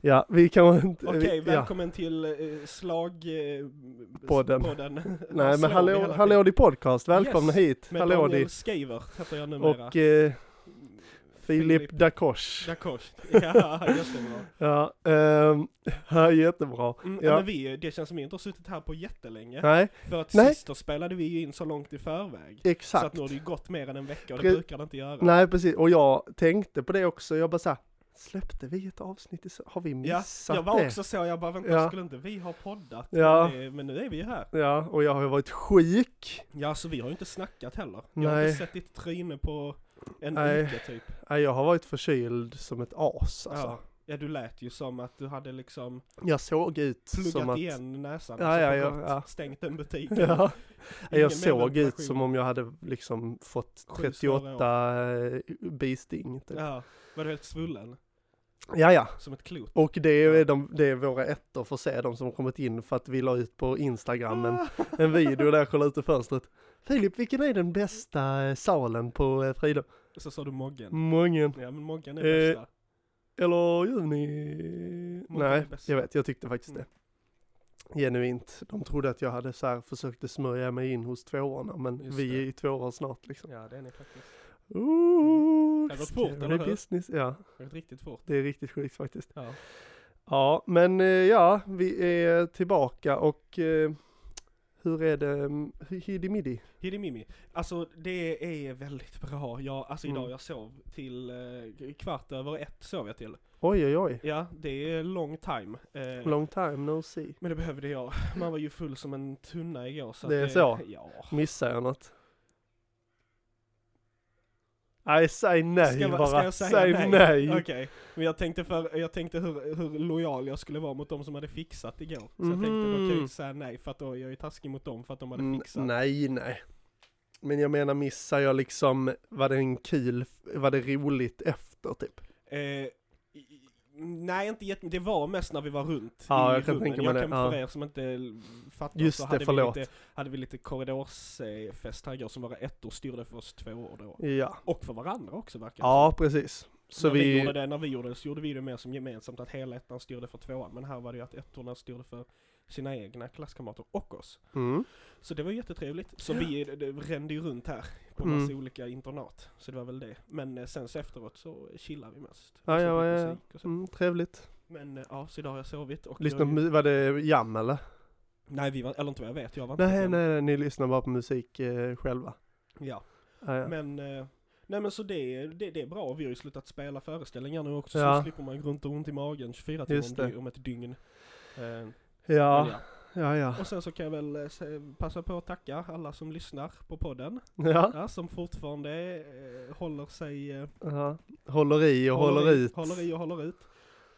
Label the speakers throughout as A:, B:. A: Ja, vi kan inte...
B: Okej,
A: vi- ja.
B: välkommen till eh, slag... Eh,
A: Podden.
B: podden.
A: Nej
B: Slår
A: men
B: vi
A: hallå,
B: hela
A: hallå di podcast, välkomna
B: Yes,
A: hit!
B: Med
A: Hallå di!
B: Daniel Skaver heter jag numera.
A: Och eh, Filip
B: Filip.
A: Dakosh.
B: Dakosh. Ja, jättebra.
A: Ja, ehm, ja, jättebra.
B: Mm,
A: Ja.
B: men vi, det känns som vi inte har suttit här på jättelänge.
A: Nej,
B: För att
A: Nej.
B: sist då spelade vi ju in så långt i förväg. Så att
A: exakt.
B: nu har det ju gått mer än en vecka och det
A: Pre-
B: brukar det inte göra.
A: Nej precis, och jag tänkte på det också, jag bara såhär, släppte vi ett avsnitt i så- Har vi
B: Ja,
A: missat
B: jag var
A: det?
B: också så, jag bara vänta,
A: Ja.
B: skulle inte vi ha poddat?
A: Ja.
B: Men, det, men nu är vi ju här.
A: Ja, och jag har ju varit sjuk.
B: Ja, så vi har ju inte snackat heller. Jag har
A: Nej.
B: inte sett ditt tryne på en
A: Nej.
B: vecka typ.
A: Nej, jag har varit förkyld som ett as alltså.
B: Ja. ja, du lät ju som att du hade liksom
A: Jag såg ut
B: pluggat
A: som att...
B: igen näsan.
A: Ja,
B: och så
A: ja,
B: för
A: ja,
B: gott
A: ja.
B: Stängt en butik.
A: Ja.
B: Ingen
A: Jag såg ut
B: mellanproduktion.
A: som om jag hade liksom fått
B: Sju
A: 38 bisting. Typ.
B: Ja, var du helt svullen?
A: Ja, ja.
B: Som ett klot?
A: Och det är, de, det är våra ettor för att se de som kommit in för att vi la ut på Instagram
B: Ah.
A: en, en video där jag kollade ut i fönstret. Filip, vilken är den bästa eh, salen på eh, Frida?
B: Så sa du Moggen.
A: Mången.
B: Ja, men Moggen är
A: Eh,
B: bästa.
A: Eller juni?
B: Många
A: Nej,
B: är bäst. Mm.
A: jag vet, jag tyckte faktiskt det. Genuint. De trodde att jag hade så här försökte smörja mig in hos tvåorna, men
B: Just
A: vi
B: det.
A: är ju tvåor snart liksom.
B: Ja, det är ni faktiskt.
A: Ooh,
B: Det har gått fort,
A: scary
B: eller hur?
A: business. Ja,
B: Det har gått riktigt fort.
A: det är riktigt sjukt faktiskt.
B: Ja.
A: Ja, men eh, ja, vi är tillbaka och eh, hur är det, mm, hidimidi?
B: Hidimimi. Alltså det är väldigt bra. Jag, alltså
A: Mm.
B: idag jag sov till eh, kvart över ett sov jag till.
A: Oj, oj, oj.
B: Ja, det är long time. Eh,
A: Long time no see.
B: Men det behövde jag. Man var ju full som en tunna igår så att
A: Det är så?
B: Ja.
A: Missar jag något? Nej, säg nej
B: Ska,
A: bara.
B: bara, ska jag säga
A: säg
B: nej?
A: nej.
B: Okej, men jag tänkte, för, jag tänkte hur, hur lojal jag skulle vara mot de som hade fixat igår. Så jag tänkte då kan jag
A: Mhm.
B: ju inte säga nej för att då är jag ju taskig mot dem för att de hade
A: Mm,
B: fixat.
A: nej, nej. Men jag menar missar jag liksom, var det en kul, var det roligt efter typ?
B: Eh, i- i- nej, inte jättemycket. Det var mest när vi var runt
A: Ja,
B: i
A: jag kan
B: rummen.
A: tänka mig
B: jag
A: det,
B: kan
A: ja.
B: för er som inte l- fattar
A: Just
B: så
A: det,
B: hade,
A: förlåt.
B: vi lite, hade vi lite korridorsfest här igår som våra ettor styrde för oss två år då.
A: Ja.
B: Och för varandra också verkar det
A: Ja, precis.
B: som.
A: Så
B: när vi...
A: vi,
B: gjorde det, när vi gjorde det så gjorde vi det mer som gemensamt att hela ettan styrde för tvåan. Men här var det ju att ettorna styrde för sina egna klasskamrater och oss.
A: mm.
B: Så det var ju jättetrevligt. Så vi eh, det- rände ju runt här på
A: Mm.
B: massa olika internat. Så det var väl det. Men eh, sen så efteråt så chillade vi mest.
A: Ja, ja,
B: Lyssnade på
A: ja, ja.
B: musik och så.
A: Mm, trevligt.
B: Men eh, ja, så idag har jag sovit och...
A: Lyssna, på
B: jag,
A: mu- var det jam eller?
B: Nej, vi var, eller inte vad jag vet, jag var inte
A: Nej,
B: på
A: nej, nej, ni lyssnar bara på musik eh, själva.
B: den. Ja,
A: Ja, ja.
B: men... eh, Nej men så det, det, det är bra, vi har ju slutat spela föreställningar nu också
A: Ja.
B: så slipper man gå runt och ont i magen 24 timmar
A: Just
B: om,
A: det.
B: dy- om ett dygn. Eh, men
A: ja,
B: ja.
A: ja, ja.
B: Och sen så kan jag väl eh, se- passa på att tacka alla som lyssnar på podden,
A: ja.
B: ja, som fortfarande eh, håller sig... Eh,
A: ja. Håller i och håller,
B: i,
A: ut.
B: Håller i och håller ut.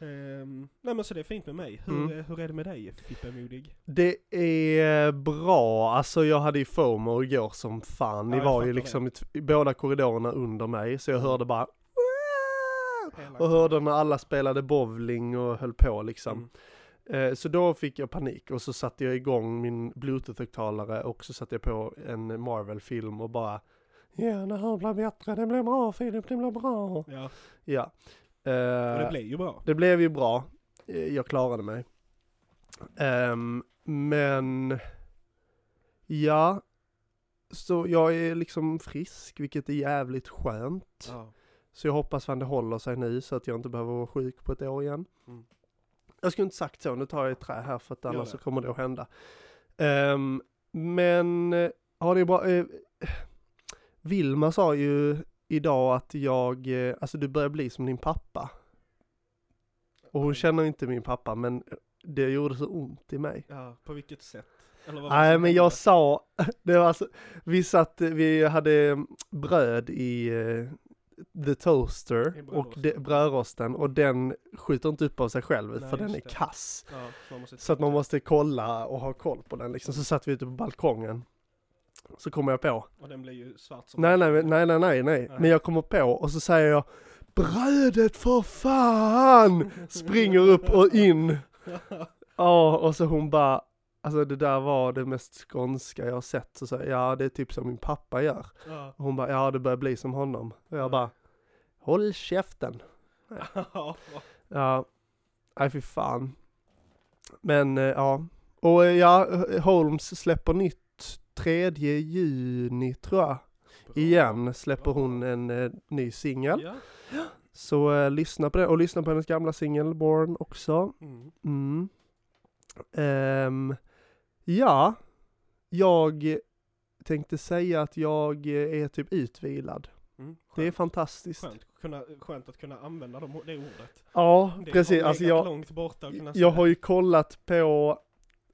B: Ehm, nej men så det är fint med mig. Hur,
A: Mm.
B: eh, hur är det med dig Fippe Modig?
A: Det är bra, alltså jag hade ju fomo igår som fan. Ni
B: Ja, jag
A: var
B: fattar Mm.
A: ju liksom i, t- i båda korridorerna under mig, så jag hörde bara
B: Hela-
A: och hörde när alla spelade bowling och höll på liksom.
B: Mm.
A: Eh, Så då fick jag panik och så satte jag igång min bluetooth-högtalare och så satte jag på en Marvel-film och bara Ja, det här blir bättre, det blir bra Filip, det blir bra.
B: Ja,
A: Ja.
B: och det
A: Eh,
B: blev ju bra.
A: det blev ju bra. Eh, Jag klarade mig. Ehm, men ja, så jag är liksom frisk, vilket är jävligt skönt.
B: Ja.
A: Så jag hoppas fan det håller sig nu så att jag inte behöver vara sjuk på ett år igen.
B: Mm.
A: Jag skulle inte sagt så, nu tar jag ett trä här för att
B: Gör
A: annars så
B: det.
A: kommer det att hända. Ehm, men, eh, ja det är bra. eh, Vilma sa ju idag att jag, eh, alltså du börjar bli som din pappa. Och hon
B: Oj.
A: känner inte min pappa men det gjorde så ont i mig.
B: Ja, på vilket sätt? Eller vad var det
A: Nej
B: som
A: men jag
B: hände?
A: sa, det var alltså, vi satt, vi hade eh, bröd i eh, the toaster
B: I
A: och
B: brödrosten.
A: de, brödrosten och den skjuter inte upp av sig själv
B: Nej,
A: för den
B: just
A: är
B: det.
A: kass.
B: Ja, så man måste
A: Så att man måste kolla och ha koll på den liksom. Så satt vi ute på balkongen. Så kommer jag på,
B: Och den blir ju svart som
A: nej nej men- nej nej nej nej,
B: Nej.
A: men jag kommer på och så säger jag Brödet för fan! Springer upp och in. Ja, och så hon bara, alltså det där var det mest skånska jag har sett. Så sa jag, ja det är typ som min pappa gör.
B: ja.
A: Och hon bara, ja det börjar bli som
B: Mm.
A: honom. Och
B: Ja.
A: jag bara, håll käften. Ja, Nej fy fan. Men eh, ja. Och eh, ja, Holmes släpper nytt 3 juni tror jag.
B: Bra.
A: Igen släpper
B: Bra.
A: hon en eh, ny singel.
B: Ja.
A: Så eh, lyssna på den, och lyssna på hennes gamla singel Born också.
B: Mm.
A: Mm. Ehm, ja, jag tänkte säga att jag eh, är typ utvilad.
B: Mm.
A: Det är
B: Skönt.
A: fantastiskt.
B: Skönt, kunna, skönt att kunna använda de, det ordet.
A: Ja,
B: Det
A: precis.
B: har
A: Alltså
B: legat
A: jag,
B: långt borta och kunna
A: jag
B: säga.
A: har ju kollat på,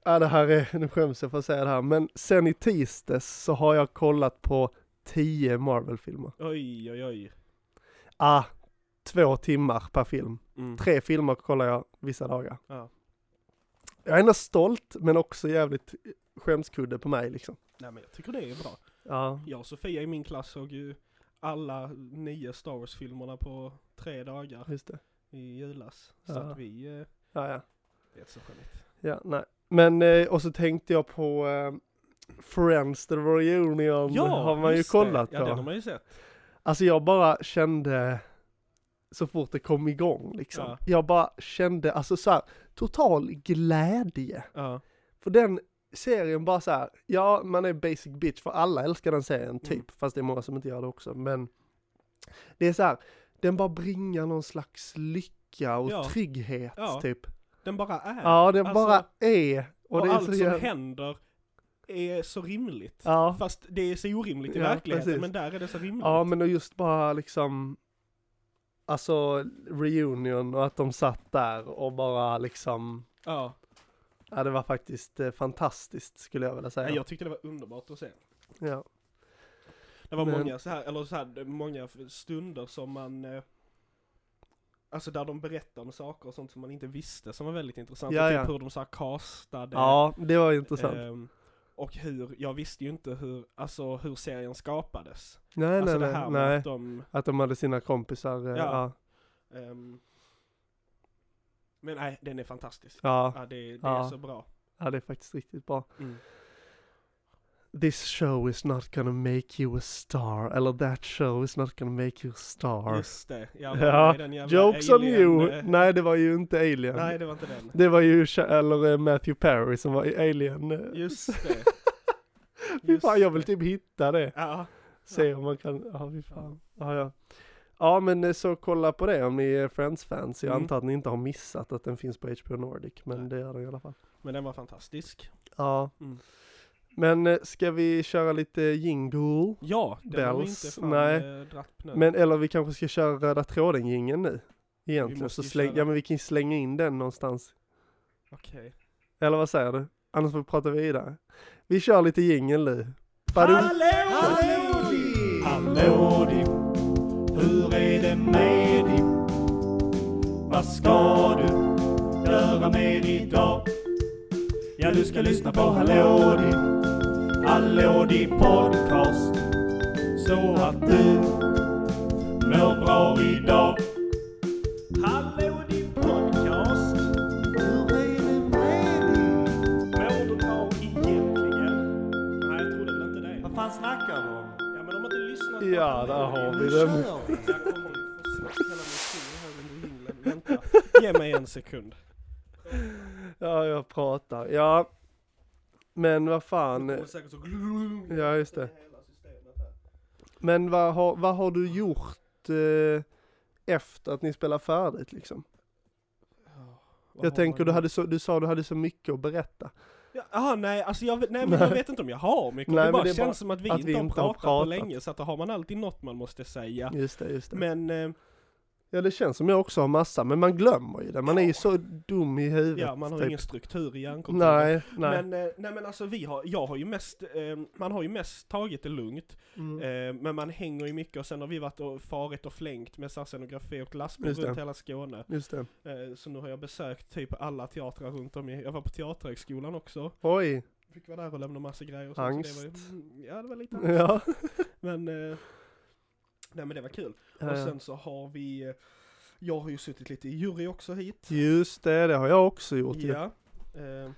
A: ja det här är, nu skäms jag för att säga det här, men sen i tisdags så har jag kollat på 10 Marvel-filmer.
B: Oj, oj, oj.
A: Ah, två timmar per film.
B: Mm.
A: Tre filmer kollar jag vissa dagar.
B: Ja.
A: Jag är ändå stolt, men också jävligt skämskudde på mig liksom.
B: Nej men jag tycker det är bra.
A: Ja,
B: Jag och Sofia i min klass såg ju alla nio Star Wars-filmerna på tre dagar
A: just det.
B: i julas. Så
A: Ja.
B: att vi, eh,
A: Ja, ja.
B: det är så skämmigt.
A: ja nej. Men, eh, och så tänkte jag på eh, Friends The Reunion, har man ju
B: just
A: kollat
B: det.
A: på.
B: Ja, den har man ju sett.
A: Alltså jag bara kände så fort det kom igång liksom.
B: Ja.
A: Jag bara kände alltså så här, total glädje.
B: Ja.
A: För den serien bara så här, ja man är basic bitch för alla älskar den serien typ.
B: Mm.
A: Fast det är många som inte gör det också. Men det är så här, den bara bringar någon slags lycka och
B: Ja.
A: trygghet
B: Ja.
A: typ.
B: Den bara är.
A: Ja den
B: Alltså,
A: bara är. Och,
B: Och,
A: det är
B: allt
A: så
B: som
A: jävla-
B: händer är så rimligt.
A: Ja.
B: Fast det är så orimligt i
A: Ja,
B: verkligheten,
A: precis.
B: men där är det så rimligt.
A: Ja men och just bara liksom Alltså reunion och att de satt där och bara liksom
B: Ja.
A: Ja det var faktiskt eh, fantastiskt skulle jag vilja säga.
B: Nej, Jag tyckte det var underbart att se.
A: Ja.
B: Det var
A: Men-
B: många så här, eller så här, många stunder som man eh, Alltså där de berättar om saker och sånt som man inte visste som var väldigt intressant.
A: Ja,
B: och
A: ja.
B: typ hur de så här castade.
A: ja det var ju intressant.
B: ehm, och hur, jag visste ju inte hur, alltså hur serien skapades.
A: nej
B: alltså
A: nej
B: det här
A: nej.
B: med
A: nej.
B: att de,
A: Att de hade sina kompisar. eh, Ja.
B: Ja. ehm, Men nej, den är fantastisk.
A: Ja.
B: Ja, det, det
A: Ja.
B: är så bra.
A: ja det är faktiskt riktigt bra.
B: Mm.
A: This show is not gonna make you a star. Eller that show is not gonna make you a star.
B: Just det, ja,
A: Ja,
B: den jävla
A: Jokes on
B: alien,
A: you.
B: eh,
A: Nej det var ju inte Alien.
B: Nej, det var inte den.
A: Det var ju Ch- eller eh, Matthew Perry som var i Alien. eh,
B: Just det.
A: Fy fan,
B: Just
A: jag vill
B: det.
A: typ hitta det.
B: Ja,
A: Se om man kan, ja fy fan. Ja, ja. ja men eh, så kolla på det om ni är Friends-fans. Jag
B: Mm.
A: antar att ni inte har missat att den finns på HBO Nordic, men
B: Nej.
A: det gör den i alla fall.
B: men den var fantastisk.
A: Ja.
B: Mm.
A: Men eh, ska vi köra lite jingle?
B: Ja, den har vi inte
A: Bells,
B: fan
A: nej.
B: nej. dratt på nu.
A: Men eller vi kanske ska köra röda tråden jingeln nu? Egentligen,
B: måste
A: så
B: ju
A: släng,
B: köra.
A: ja men vi kan ju slänga in den någonstans.
B: Okej.
A: Eller vad säger du? Annars får vi prata vidare. Vi kör lite jingel nu. Badum.
B: Hallå
A: di!
B: Hallå di! Hur är det med dig? Vad ska du göra mer idag? Ja, du ska lyssna på Hallå di! Hallå di podcast! Så att du mår bra idag! Hallå di podcast! Mår du bra egentligen? Nej, jag trodde väl inte det.
A: Vad fan snackar du om?
B: Ja men de har inte lyssnat på
A: Ja, där har vi den.
B: Jag kommer ju få slå hela min finger här under jinglen. Vänta, ge mig en sekund.
A: Ja, jag pratar. Ja. Men vad fan.
B: Det
A: eh,
B: kommer säkert så...
A: Ja, just det.
B: Hela systemet här.
A: Men vad har, vad har du gjort eh, efter att ni spelar färdigt liksom?
B: Ja, vad
A: Jag
B: har
A: tänker
B: man
A: du,
B: gjort?
A: hade så, du sa du hade så mycket att berätta.
B: Ja, ah, nej, alltså jag, vet- nej, men jag
A: Nej.
B: vet inte om jag har mycket.
A: Nej,
B: det
A: men
B: bara
A: det är
B: känns
A: bara
B: som att vi
A: att
B: inte
A: vi
B: har
A: inte har
B: pratat, på
A: pratat.
B: länge, så att då har man alltid något man måste säga.
A: Just det, just det.
B: Men, eh,
A: ja, det känns som jag också har massa, men man glömmer ju det. Man är ju
B: Ja.
A: så dum i huvudet.
B: ja, man har
A: typ.
B: ingen struktur i hjärnkontoret.
A: Nej, nej.
B: Men, eh, nej men alltså vi har, jag har ju mest, eh, man har ju mest tagit det lugnt.
A: mm.
B: Eh, men man hänger ju mycket och sen har vi varit och farit och flängt med så här scenografi och lastbil
A: Just det.
B: runt hela Skåne.
A: Just det.
B: Eh, så nu har jag besökt typ alla teatrar runt om i, jag var på Teaterhögskolan också.
A: Oj.
B: Fick vara där och lämna massa grejer och Så det
A: Angst.
B: var, ju- mm, ja det var lite angst.
A: Ja.
B: Men, eh, nej men det var kul. Och sen så har vi, eh, jag har ju suttit lite i jury också hit.
A: Just det, det har jag också gjort. ju.
B: Ja. Eh,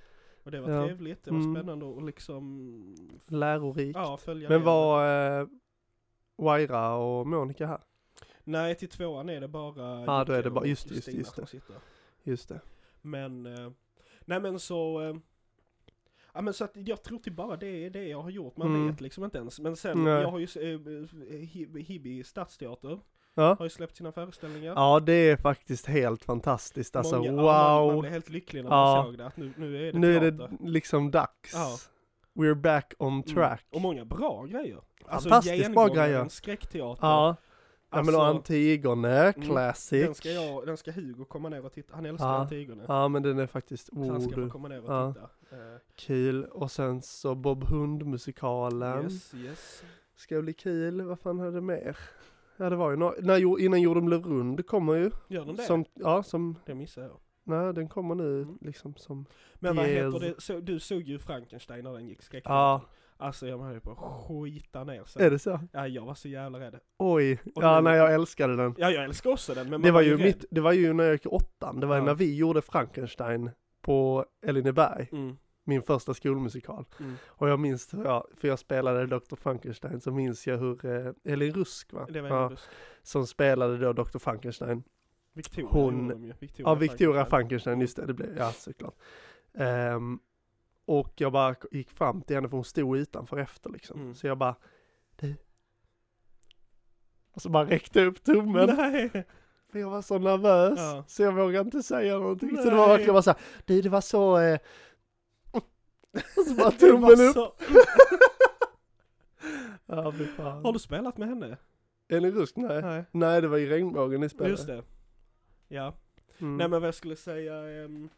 B: och det var
A: Ja.
B: trevligt, det var
A: Mm.
B: spännande och liksom,
A: Lärorikt.
B: ja följa
A: Men
B: det.
A: var eh, Waira och Monica här?
B: Nej till tvåan är det bara
A: Ja, då är
B: Jocke
A: det bara-
B: och
A: just det, just det,
B: Kristina
A: just
B: som
A: det.
B: sitter.
A: Just det.
B: Men, eh, nej men så, eh, ja men så att jag tror till bara det är det jag har gjort, man
A: Mm.
B: vet liksom inte ens. Men sen,
A: Nej.
B: jag har ju, s- eh, Hib- Hibby Stadsteater
A: Ja.
B: har ju släppt sina föreställningar.
A: ja, det är faktiskt helt fantastiskt. Alltså
B: Många- ja, Man, man
A: wow.
B: blev helt lycklig när
A: Ja.
B: man såg det, att nu, nu är det
A: Nu är
B: teater.
A: det liksom dags.
B: Ja. Mm.
A: We're back on track.
B: Och många bra grejer.
A: Fantastiskt bra
B: Gengångaren,
A: grejer.
B: skräckteater.
A: Ja, ja men och
B: Alltså,
A: Antigone,
B: Mm,
A: classic.
B: den ska, jag, den ska Hugo komma ner och titta, han älskar
A: Ja.
B: Antigone.
A: Ja men den är faktiskt,
B: Så han
A: oh,
B: ska få
A: du,
B: komma ner och
A: Ja.
B: titta. Eh,
A: kul. Och sen så Bob Hund-musikalen.
B: yes, yes.
A: Ska bli kul, vad fan hade mer? Ja det var ju några, när, jo- innan jorden blev rund kommer ju.
B: Gör de det?
A: Som, ja som,
B: Det missar jag.
A: nej den kommer nu
B: Mm.
A: liksom som.
B: Men vad
A: Yes.
B: heter det, så, du såg ju Frankenstein när den gick skräckteatern.
A: Ja,
B: Alltså jag höll på att skita ner sig.
A: är det så?
B: Ja, jag var så jävla rädd.
A: Oj,
B: Och
A: ja
B: den-
A: nej jag älskade den.
B: Ja, jag älskar också den men man
A: Det var ju
B: rädd.
A: mitt, det var ju när jag gick i åttan, det var ju
B: Ja.
A: när vi gjorde Frankenstein på Elineberg,
B: Mm,
A: min första skolmusikal.
B: mm.
A: Och jag minns hur jag, för jag spelade Dr. Frankenstein, så minns jag hur eh, Elin Rusk va?
B: Det var
A: ja,
B: en busk.
A: som spelade då Dr. Frankenstein.
B: Victoria
A: Hon-
B: gjorde de ju. Victoria
A: Ja, Victoria
B: Frankenstein.
A: Frankenstein, just det, det blev, ja såklart. Ehm, och jag bara k- gick fram till henne för hon stod utanför efter liksom.
B: Mm.
A: Så jag bara, du. Och så bara räckte jag upp tummen.
B: Nej!
A: För jag var så nervös,
B: Ja.
A: så jag vågade inte säga någonting. Så det var verkligen bara såhär, du det var så... Eh... Och så bara
B: Det var
A: tummen upp.
B: så-
A: Ja, fy
B: Har
A: fan.
B: du spelat med henne?
A: Eh, Elin Rusk, nej.
B: Nej.
A: Nej, det var ju regnbågen ni spelade.
B: Just det. Ja.
A: Mm.
B: Nej men vad jag skulle säga... ehm,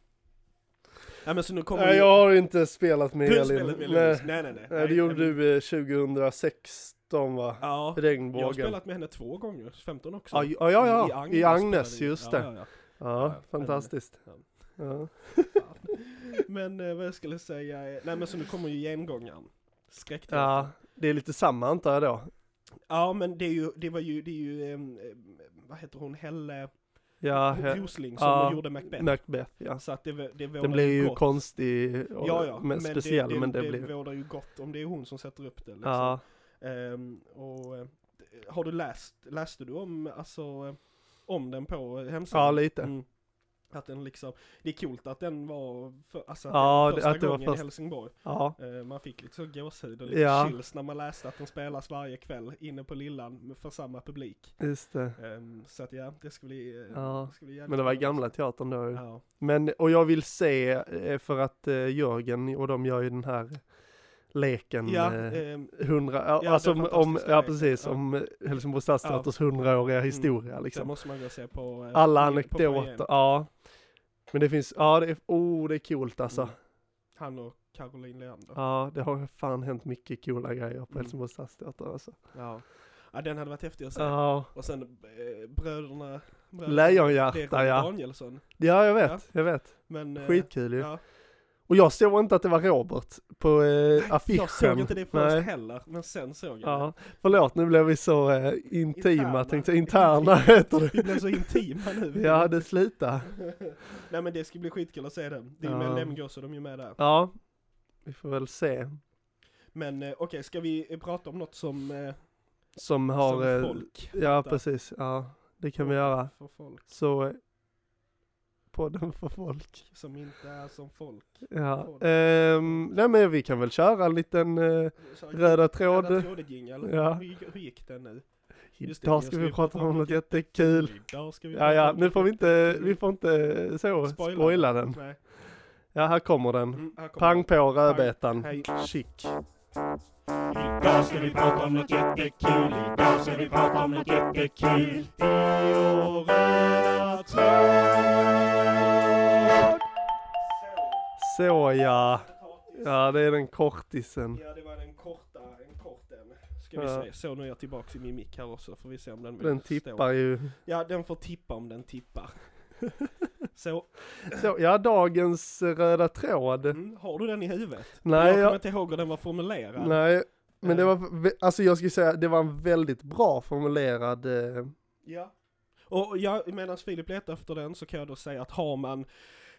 B: Nej men så nu kommer
A: Nej,
B: ju-
A: jag har inte spelat med
B: Du har
A: Elin.
B: spelat med
A: Nej.
B: Louise. Nej nej nej.
A: Nej, det gjorde du eh, 2016 va?
B: Ja. Jag har
A: Regnbågen.
B: spelat med henne två gånger, 15 också.
A: Ja, ja, ja, ja. I Agnes,
B: spelade vi.
A: just
B: Ja,
A: det.
B: ja, ja.
A: Ja,
B: Ja,
A: fantastiskt.
B: spännande.
A: Ja.
B: Men eh, vad jag skulle säga är, nej men så nu kommer ju gengångaren. Skräckteater.
A: ja,
B: Ja.
A: det är lite samma antar jag då.
B: ja men det är ju, det var ju, det är ju, ehm, ehm, vad heter hon, Helle
A: Ja, he-
B: Rosling som
A: ja,
B: gjorde Macbeth.
A: Macbeth ja.
B: Så att det, vå- det
A: Den
B: vårdar
A: blev ju
B: gott.
A: konstig och
B: Ja, ja,
A: men speciell, men det, blev...
B: Det vårdar ju gott om det är hon som sätter upp det. Liksom.
A: Ja,
B: Ehm, och, eh, har du läst, läste du om, alltså, eh, om den på hemsidan?
A: ja lite.
B: Mm. Att den liksom, det är coolt att den var, för, alltså att
A: Ja, det-
B: den var första
A: att det var
B: gången
A: först-
B: i Helsingborg.
A: Ja.
B: Eh, man fick lite så gåshud och lite
A: Ja.
B: chills när man läste att den spelas varje kväll inne på Lillan för samma publik.
A: Just det.
B: Ehm, så att ja, det ska bli, eh,
A: Ja,
B: det ska bli jävligt
A: Men det var
B: kul.
A: gamla teatern då ju.
B: Ja.
A: Men, och jag vill se, eh, för att eh, Jörgen och de gör ju den här leken.
B: Ja,
A: eh,
B: ehm,
A: Hundra, ja,
B: den
A: alltså om, om,
B: fantastiska
A: ja
B: leken,
A: precis,
B: ja. Mm.
A: om eh, Helsingborgs stadsteaters hundraåriga historia
B: det
A: liksom.
B: måste man gå och se på. eh,
A: Alla
B: på- på
A: anekdoter,
B: Foajén.
A: ja. Men det finns, ja det är, oh det är coolt alltså.
B: Mm. Han och Caroline Leander.
A: Ja, det har fan hänt mycket coola grejer på
B: Typ. Mm.
A: Helsingborgs stadsteater alltså.
B: Ja. ja, den hade varit häftig att se.
A: Ja,
B: Och sen eh, bröderna, bröderna det är
A: Lejonhjärta
B: Robert
A: ja.
B: Danielsson.
A: Ja, jag vet, jag vet.
B: Men, eh,
A: Skitkul ju.
B: ja.
A: Och jag såg inte att det var Robert på eh, affischen.
B: Jag såg inte det först
A: Nej.
B: heller, men sen såg jag det.
A: Ja, förlåt nu blev vi så eh, intima
B: Interna.
A: tänkte jag, interna heter
B: Vi
A: det.
B: blev så intima nu.
A: Ja, det sluta.
B: Nej men det ska bli skitkul att se den. Det är ju
A: Ja.
B: med Lemgås och de är ju med där.
A: Ja, vi får väl se.
B: Men eh, okej, ska vi eh, prata om något som, eh,
A: Som har,
B: som
A: eh,
B: folk?
A: ja
B: fattar?
A: precis, ja det kan vi göra.
B: För folk
A: Så, eh, podden för folk.
B: som inte är som folk.
A: Ja,
B: Podd.
A: ehm, nej men vi kan väl köra en liten eh,
B: Så-
A: röda
B: Röda
A: tråd.
B: trådet jingle.
A: Ja.
B: Hur, hur gick den nu? just det,
A: Idag
B: just
A: ska
B: det,
A: vi
B: vi
A: prata
B: pratar
A: om
B: om
A: något
B: det.
A: jättekul.
B: Idag ska vi
A: Ja,
B: prata
A: ja,
B: om-
A: nu får vi inte, vi får inte eh, så, spoila den.
B: Nej.
A: Ja, här kommer den.
B: Mm, här kommer
A: Pang
B: den.
A: på rödbetan.
B: Hej.
A: Chic.
C: Idag ska vi prata om något jättekul. Idag ska vi prata om något jättekul. I vår röda tråd.
A: Så ja.
B: Potatis.
A: Ja, det är den kortisen.
B: Ja, det var en korta, en kort en. Ska vi
A: Ja.
B: se, så nu är jag tillbaks i min mick här också, får vi se om den vill
A: Den
B: stå.
A: tippar ju.
B: Ja, den får tippa om den tippar. så,
A: Så, ja, dagens röda tråd.
B: mm, har du den i huvudet?
A: Nej,
B: jag kommer
A: jag,
B: inte ihåg hur den var formulerad.
A: nej, men det
B: Eh.
A: var, alltså jag skulle säga, det var en väldigt bra formulerad, eh,
B: Ja. Och ja, medan Filip letar efter den så kan jag då säga att har man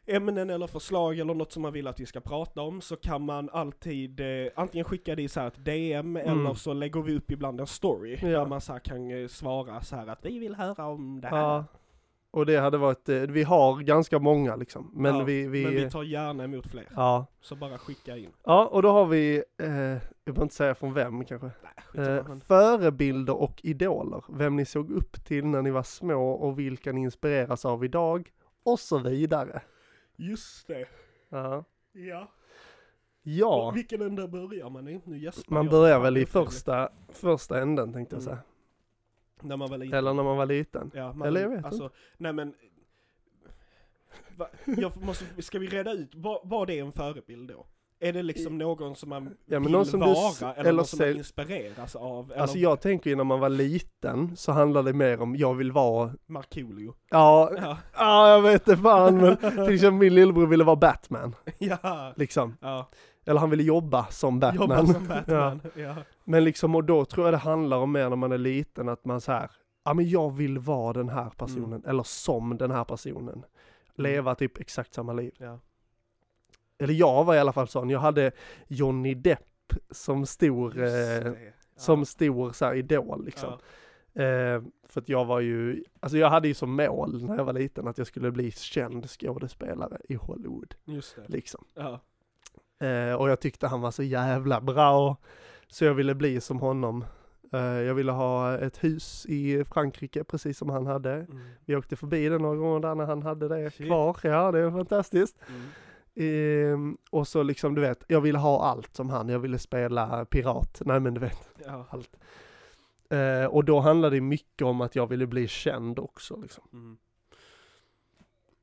B: ämnen eller förslag eller något som man vill att vi ska prata om så kan man alltid eh, antingen skicka det i så här ett DM
A: Mm.
B: eller så lägger vi upp ibland en story
A: Ja.
B: där man så här kan eh, svara så här att vi vill höra om det här.
A: ja, Och det hade varit, eh, vi har ganska många liksom. Men
B: Ja,
A: vi, vi,
B: Men vi tar gärna emot fler.
A: ja. Eh,
B: Så bara skicka in.
A: ja, och då har vi, eh, jag behöver inte säga från vem kanske.
B: Nej, skitsamma,
A: Eh,
B: men-
A: förebilder och idoler. Vem ni såg upp till när ni var små och vilka ni inspireras av idag. Och så vidare.
B: Just det.
A: Ja.
B: Ja.
A: Ja,
B: Och vilken ända börjar man i? Nu gäspar
A: man
B: jag.
A: börjar
B: Fan,
A: väl i
B: vad trevligt.
A: första, första änden tänkte jag
B: Mm.
A: säga.
B: När man väl är
A: Eller när man var liten.
B: Ja, man,
A: Eller jag vet
B: alltså, nej men... Va? Jag måste, ska vi reda ut, vad, vad är en förebild då? Är det liksom någon som man
A: Ja, men
B: vill
A: någon som du
B: vara
A: s-
B: eller,
A: eller
B: någon som man
A: ser-
B: inspireras av? Eller
A: Alltså jag tänker ju när man var liten så handlade det mer om jag vill vara,
B: Markoolio?
A: ja,
B: Ja,
A: ja jag vet inte fan men till exempel min lillebror ville vara Batman,
B: ja,
A: liksom.
B: ja.
A: Eller han ville jobba som Batman.
B: jobba som Batman. Ja. Ja.
A: Men liksom, och då tror jag det handlar om mer när man är liten, att man så här, ja men jag vill vara den
B: Mm.
A: här personen, eller som den här personen. Leva typ exakt samma liv.
B: Ja.
A: Eller jag var i alla fall sån, jag hade Johnny Depp som stor,
B: Just
A: eh,
B: det. Ja.
A: som stor så här idol liksom.
B: Ja.
A: Eh, för att jag var ju, alltså jag hade ju som mål när jag var liten att jag skulle bli känd skådespelare i Hollywood,
B: Just det.
A: liksom.
B: Ja.
A: Eh, och jag tyckte han var så jävla bra. Så jag ville bli som honom. Eh, jag ville ha ett hus i Frankrike precis som han hade.
B: Mm.
A: Vi åkte förbi det några gånger där när han hade det
B: Shit.
A: kvar. Ja, det är fantastiskt.
B: Mm.
A: Ehm, och så liksom, du vet, jag ville ha allt som han. Jag ville spela pirat. Nej, men du vet,
B: Ja.
A: allt. Eh, och då handlade det mycket om att jag ville bli känd också. Liksom.
B: Mm.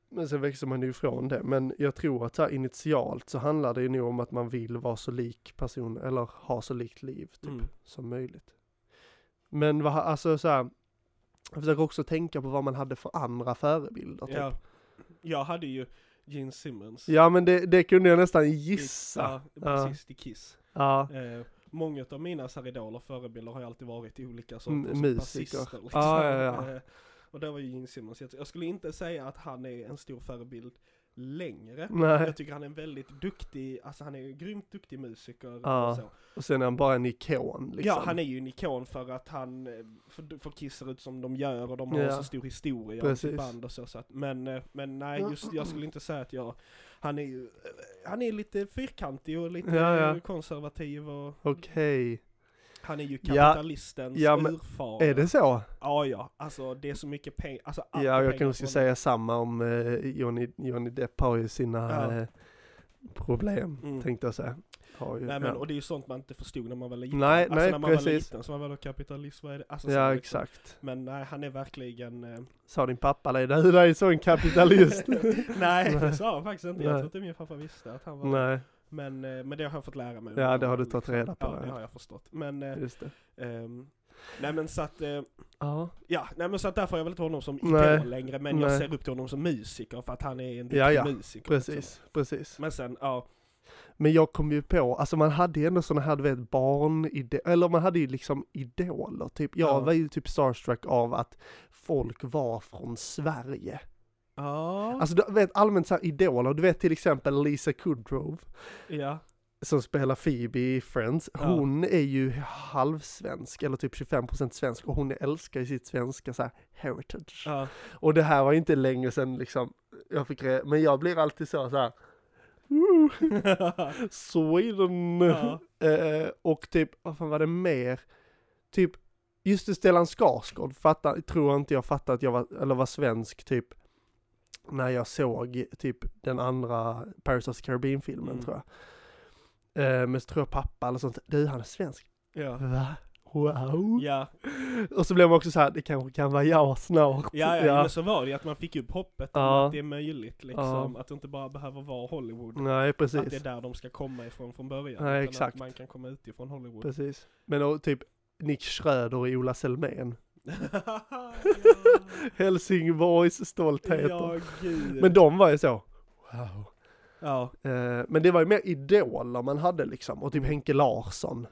A: Men sen växer man ju ifrån det. Men jag tror att så här initialt så handlar det ju nog om att man vill vara så lik person, eller ha så likt liv typ,
B: Mm.
A: som möjligt. Men vad, ha- alltså så här, jag försöker också tänka på vad man hade för andra förebilder. Typ. Ja.
B: Ja. Jag hade ju Gene Simmons.
A: men det, det kunde jag nästan gissa.
B: Ja, precis, i Kiss.
A: Ja,
B: Eh, många av mina så här idoler och förebilder har ju alltid varit olika
A: Mm,
B: sorters
A: musiker. Ah,
B: basister, liksom.
A: Ja, ja, ja.
B: Eh, och det var ju Gene Simmons. Jag- Jag skulle inte säga att han är en stor förebild längre.
A: Mm, nej.
B: Jag tycker han är en väldigt duktig, alltså han är en grymt duktig musiker
A: Ja,
B: och så.
A: Och sen är han bara en ikon liksom.
B: Ja, han är ju en ikon för att han, eh, för, för Kiss ser ut som de gör och de har
A: Ja.
B: så stor historia och sitt
A: Precis.
B: band och så. så att, men, eh, men nej, just, jag skulle inte säga att jag, han är ju, eh, han är lite fyrkantig och lite
A: Ja, ja.
B: eh, konservativ och
A: Okej,
B: han är ju
A: Ja.
B: kapitalistens
A: Ja, men
B: urfar.
A: är det så?
B: Ja, ja. Alltså det är så mycket pengar. Alltså, allt
A: Ja,
B: är
A: jag
B: pengar
A: kanske ska
B: från-
A: säga samma om eh, Johnny, Johnny Depp har ju sina
B: Ja.
A: eh, problem,
B: Mm.
A: tänkte jag säga. Har ju,
B: Nej men,
A: ja.
B: och det är ju sånt man inte förstod när man var liten.
A: Nej,
B: alltså
A: nej,
B: när man var
A: precis.
B: liten så var man väl kapitalist, vad är det? Alltså, så
A: Ja,
B: liksom.
A: exakt.
B: Men nej, han är verkligen... Eh...
A: Sa din pappa dig, du är så en kapitalist.
B: nej, det sa han faktiskt inte. Jag
A: Nej.
B: tror inte min pappa visste att han var
A: Nej,
B: Men, eh, men det har jag fått lära mig.
A: ja det har du tagit reda på.
B: Ja, det
A: Ja,
B: har jag förstått. Men, eh,
A: Just det.
B: ehm, nej men så att, eh,
A: Ja,
B: ja, nej men så att därför har jag väl inte honom som
A: Nej.
B: idol längre, men jag
A: Nej.
B: ser upp till honom som musiker för att han är en duktig
A: Ja, ja.
B: musiker. liksom.
A: precis, precis.
B: Men sen, ja,
A: Men jag kom ju på, alltså man hade ju ändå sådana här, du vet, barnide- eller man hade ju liksom idoler, typ. Jag
B: Ja.
A: var ju typ starstruck av att folk var från Sverige.
B: Ja.
A: Alltså du vet, allmänt så här idoler, du vet till exempel Lisa Kudrow.
B: ja.
A: som spelar Phoebe i Friends,
B: Ja.
A: hon är ju halvsvensk, eller typ 25% svensk, och hon älskar ju sitt svenska så här, heritage.
B: ja.
A: Och det här var ju inte länge sedan liksom, jag fick re- men jag blir alltid så, så här. "Woo, Sweden!
B: Ja.
A: Eh, och typ, vad fan var det mer? Typ, just det, Stellan Skarsgård fattar, tror jag inte jag fattade att jag var, eller var svensk typ, när jag såg typ den andra Paris of the Caribbean-filmen
B: Mm.
A: tror jag. Eh, men så tror jag pappa eller sånt, du han är svensk.
B: ja.
A: Va? Wow!
B: Ja,
A: Och så blev man också så här, det kanske kan vara jag snart.
B: ja, ja, men så var det ju att man fick upp hoppet om
A: Ja.
B: att det är möjligt liksom. Att det inte bara behöver vara Hollywood.
A: Nej,
B: Att det är
A: precis.
B: där de ska komma ifrån från början.
A: Nej,
B: utan
A: exakt.
B: Att man kan komma utifrån Hollywood.
A: precis. Men och, typ Nick Schröder och Ola Selmén.
B: ja,
A: Helsingborgs stoltheter.
B: ja, gud.
A: Men de var ju så. Wow.
B: ja,
A: Eh, men det var ju mer idoler man hade liksom. Och typ
B: Mm.
A: Henke Larsson.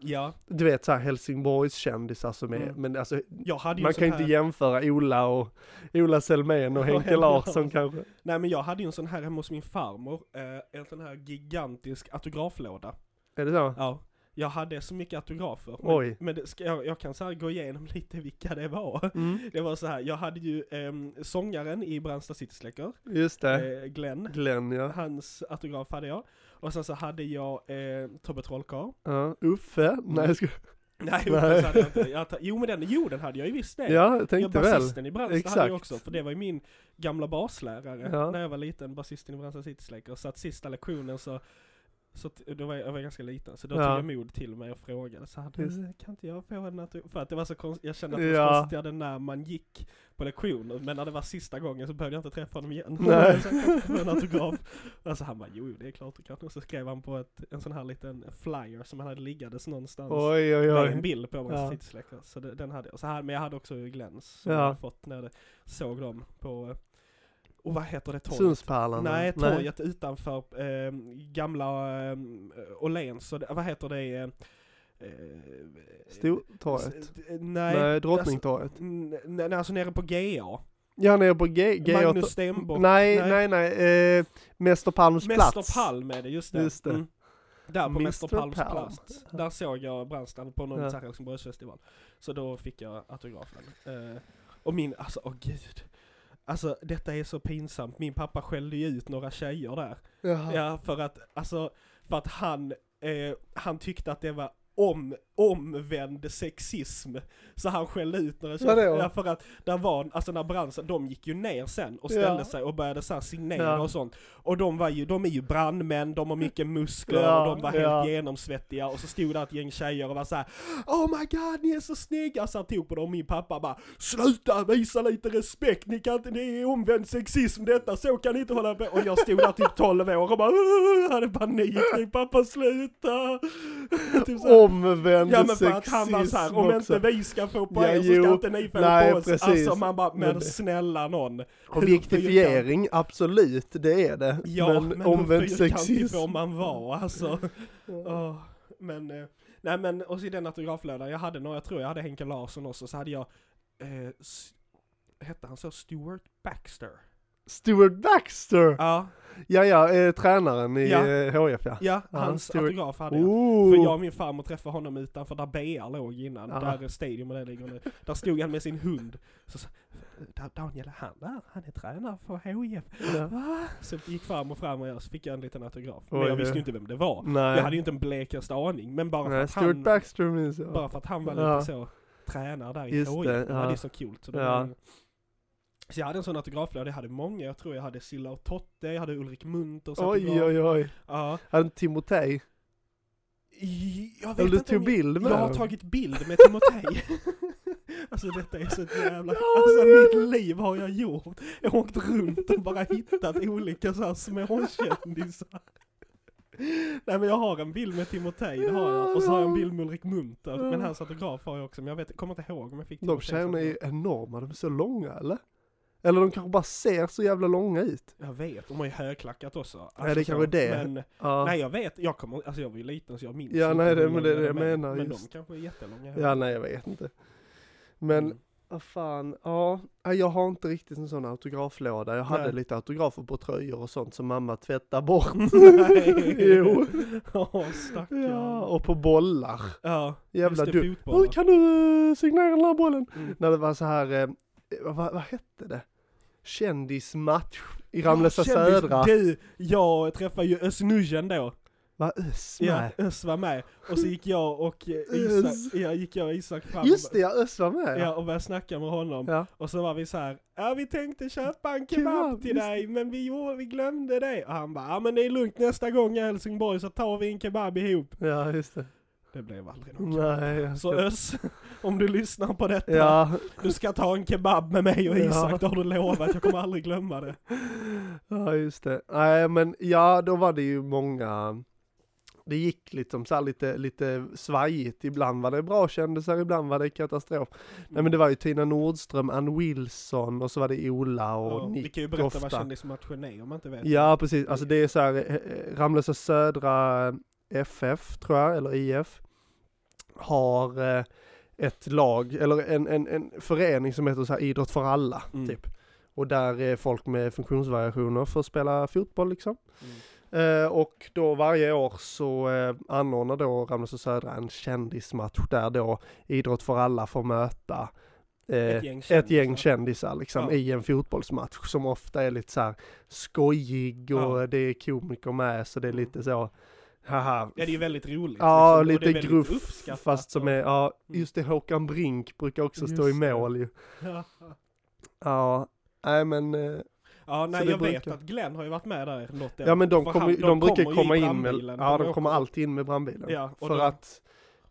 B: ja,
A: Du vet så här Helsingborgs kändisar som är,
B: Mm.
A: men alltså
B: jag hade ju
A: man
B: en sån
A: kan ju inte
B: här-
A: jämföra Ola och Ola Selmén och
B: Och
A: Henke
B: Henke
A: Larsson
B: Larsson.
A: kanske.
B: Nej men jag hade ju en sån här hemma hos min farmor, eh, en sån här gigantisk autograflåda.
A: Är det så?
B: Ja. Jag hade så mycket autografer. Men,
A: Oj.
B: men det ska, jag, jag kan så här gå igenom lite vilka det var.
A: Mm.
B: Det var så här, jag hade ju ehm, sångaren i Brandsta Citysläcker,
A: Just det.
B: eh, Glenn.
A: Glenn ja.
B: Hans autograf hade jag. Och sen så hade jag eh, Tobbe Trollkarl.
A: Ja, Uffe? Nej jag skojar.
B: Nej,
A: Nej.
B: Nej. Hade jag inte. Jag, ta- jo men den, jo den hade jag ju visst det.
A: Ja, jag
B: Ja,
A: tänkte väl.
B: basisten i Brandsta hade jag
A: Exakt.
B: också, för det var ju min gamla baslärare
A: Ja.
B: när jag var liten, basisten i Brandsta Citysläcker. Så att sista lektionen så, så t- då var jag, jag var ganska liten, så då
A: Ja.
B: tog jag mod till mig och frågade så här,
A: Just.
B: "Du, kan inte jag få en autograf? För att det var så konstigt, jag kände att det var
A: Ja.
B: så konstigt att det när man gick på lektionen, men när det var sista gången så behövde jag inte träffa honom igen.
A: Nej.
B: så jag kan inte få en autograf. Alltså han bara, jo jo, det är klart du kan. Och så skrev han på ett, en sån här liten flyer som han hade liggandes någonstans
A: Oj oj
B: med en
A: oj.
B: bild på
A: Ja.
B: Brandsta Citysläcker. Så det, den hade jag. Så här, men jag hade också Glenns som
A: Ja.
B: jag hade fått när jag såg dem på, eh, och vad heter det torget?
A: Synspärlan.
B: Nej, torget utanför eh, gamla eh, Åhléns, och det- vad heter det? Eh, eh,
A: Stortorget.
B: s- eh, Nej,
A: Nej, Drottningtorget.
B: n- nej, alltså nere på GA.
A: Ja, nere på G... G
B: Magnus Stenbock.
A: Nej, nej,
B: Nej.
A: nej. Eh, Mäster Palms plats.
B: Mäster Palm är det, just det.
A: Just det.
B: Mm. Där på
A: Mr.
B: Mäster Palms
A: Palm.
B: plats. Där såg jag Brandstrand på någon
A: Ja.
B: så här Helsingborgsfestival. Så då fick jag autografen. Eh, och min, alltså åh gud. Alltså detta är så pinsamt, min pappa skällde ju ut några tjejer där.
A: Jaha.
B: Ja, för att, alltså, för att han, eh, han tyckte att det var om, omvänd sexism. Så han skällde ut några tjejer.
A: Vadå?
B: Ja, för att där var, alltså när branschen, de gick ju ner sen och ställde
A: Ja.
B: sig och började så här signera
A: Ja.
B: och sånt. Och de var ju, de är ju brandmän, de har mycket muskler
A: Ja,
B: och de var helt
A: ja.
B: genomsvettiga och så stod där ett gäng tjejer och var så här Oh my god, ni är så snygga! Så han tog på dem och min pappa bara Sluta, visa lite respekt, ni kan inte, det är omvänd sexism detta, så kan ni inte hålla på! Och jag stod där typ 12 år och bara "Åh", hade panik, typ pappa sluta! typ så här.
A: Omvänd
B: Ja men för
A: sexism
B: att han var såhär, om
A: också.
B: inte vi ska få på
A: Ja,
B: er så
A: jo.
B: ska inte ni få
A: Nej,
B: på oss.
A: precis.
B: Alltså man bara, men
A: Men-
B: snälla någon. hur fyrkant-
A: Objektifiering, absolut, det är det.
B: Ja, men,
A: omvänd
B: hur fyrkantig
A: sexism.
B: får man vara alltså? Åh, men, eh, nej men, och så i den autograflådan, jag hade några, jag tror jag hade Henke Larsson också, så hade jag, eh, s- hette han så? Stuart Baxter?
A: Stuart Baxter!
B: Ja,
A: Ja, ja, eh, tränaren i
B: Ja.
A: eh, HIF ja.
B: ja,
A: Ja,
B: hans
A: Stuart-
B: autograf hade jag. För jag
A: Ooh.
B: och min farmor träffade honom utanför där BR låg innan,
A: Ja.
B: där Stadium och det ligger nu. Där stod han med sin hund. Så sa "Da- Daniel, han där, han är tränare för HIF.
A: Ja.
B: Va? Så gick farmor fram och jag så fick jag en liten autograf.
A: Oj,
B: Men jag visste
A: du.
B: ju inte vem det var.
A: Nej,
B: Jag hade ju inte en blekaste aning, men bara,
A: Nej
B: för,
A: Stuart
B: att han,
A: Baxter minns jag.
B: bara för att han var lite
A: Ja.
B: så tränare där i
A: Just
B: HIF.
A: det,
B: Det, var
A: ja.
B: ju så kul. Så, det
A: Ja.
B: var ju- så jag hade en sån autograflåda, jag hade många. Jag tror jag hade Silla och Totte, jag hade Ulrik Munthers
A: Oj,
B: autograf.
A: oj, oj.
B: Ja.
A: Hade Timotej?
B: I- Jag vet
A: Eller du
B: inte om
A: tog bild
B: jag,
A: med
B: jag har
A: dem?
B: tagit bild med Timotej. alltså detta är så ett jävla...
A: Ja,
B: Alltså
A: det är-
B: mitt liv har jag gjort. Jag har åkt runt och bara hittat olika så här småkändisar. Nej men jag har en bild med Timotej, det har jag. Och så har jag en bild med Ulrik Munther. Men hans autograf har jag också, men jag vet, kommer inte ihåg om jag fick
A: De
B: Timotheys
A: tjejerna är
B: autograf.
A: ju enorma, de är så långa eller? Eller de kanske bara ser så jävla långa ut.
B: Jag vet, de har ju högklackat också. Alltså,
A: det är kanske
B: så,
A: det.
B: Men,
A: Ja.
B: nej jag vet, jag kommer, alltså jag var ju liten så jag minns
A: Ja,
B: inte
A: nej, det-
B: hur
A: men det är
B: långa
A: det jag
B: de är.
A: menar,
B: Men de
A: just.
B: kanske är jättelånga.
A: ja, nej jag vet inte. Men
B: Mm.
A: Vad fan, ja. Nej, Jag har inte riktigt en sån autograflåda. Jag hade
B: Nej.
A: lite autografer på tröjor och sånt som mamma tvättade bort.
B: Mm. Nej.
A: jo.
B: Ja, stackarn.
A: Ja, och på bollar.
B: ja
A: Jävla
B: just det,
A: du.
B: fotbollar.
A: Hur kan du eh, signera den här bollen?
B: Mm.
A: När det var så här, eh, vad, vad hette det? Kändismatch i Ramlösa
B: Ja, kändis.
A: Södra.
B: Du, jag träffade ju Özz Nujen då.
A: Vad ös
B: Ja,
A: med.
B: Özz var med. Och så gick jag och eh,
A: Özz.
B: Isak, ja, gick jag och Isak fram.
A: Just det, jag ös var med.
B: Ja, och började snacka med honom.
A: Ja.
B: Och så var vi så här, ja vi tänkte köpa en
A: Kebab,
B: kebab till
A: just
B: dig, men vi, gjorde, vi glömde det. Och han bara, ja men det är lugnt nästa gång i Helsingborg så tar vi en kebab ihop.
A: ja, just det.
B: Det blev aldrig någon kebab.
A: Nej. jag
B: Så
A: ska-
B: Özz, om du lyssnar på detta,
A: Ja.
B: Du ska ta en kebab med mig och
A: Ja.
B: Isak, det har du lovat. Jag kommer aldrig glömma det.
A: Ja, just det. Nej, men ja, då var det ju många. Det gick liksom så här lite, lite svajigt. Ibland var det bra kändisar, ibland var det katastrof. Nej, men det var ju Tina Nordström, Ann Wilson och så var det Ola och
B: Ja, vi
A: Nick
B: kan ju berätta
A: ofta.
B: vad kändismatchen är om man inte vet.
A: Ja, precis. Alltså det är så här, eh, eh, Ramlösa Södra eh, FF, tror jag, eller IF, har eh, ett lag, eller en, en, en förening som heter så här Idrott för alla,
B: Mm.
A: typ. Och där är folk med funktionsvariationer för att spela fotboll liksom.
B: Mm.
A: Eh, och då varje år så eh, anordnar då Ramlösa Södra en kändismatch där då Idrott för alla får möta eh,
B: Ett gäng
A: ett gäng
B: kändisar.
A: kändisar liksom,
B: Ja.
A: i en fotbollsmatch som ofta är lite så här skojig och
B: Ja.
A: det är komiker med så det är lite så, haha.
B: Ja, det är ju väldigt roligt.
A: Ja,
B: liksom, och det är
A: lite
B: väldigt
A: gruff
B: uppskattat
A: fast som
B: och- Mm.
A: är, ja, just det Håkan Brink brukar också stå i
B: Just det.
A: mål ju.
B: Ja.
A: Ja, nej men, eh,
B: Ja,
A: Så
B: nej,
A: det
B: jag vet
A: brukar-
B: att Glenn har ju varit med där något
A: ja men de,
B: För
A: kommer
B: han-
A: ju- de brukar
B: kommer ju
A: komma
B: i
A: in med,
B: brandbilen.
A: ja de
B: åker-
A: kommer alltid in med brandbilen.
B: Ja, och
A: För
B: de-
A: att,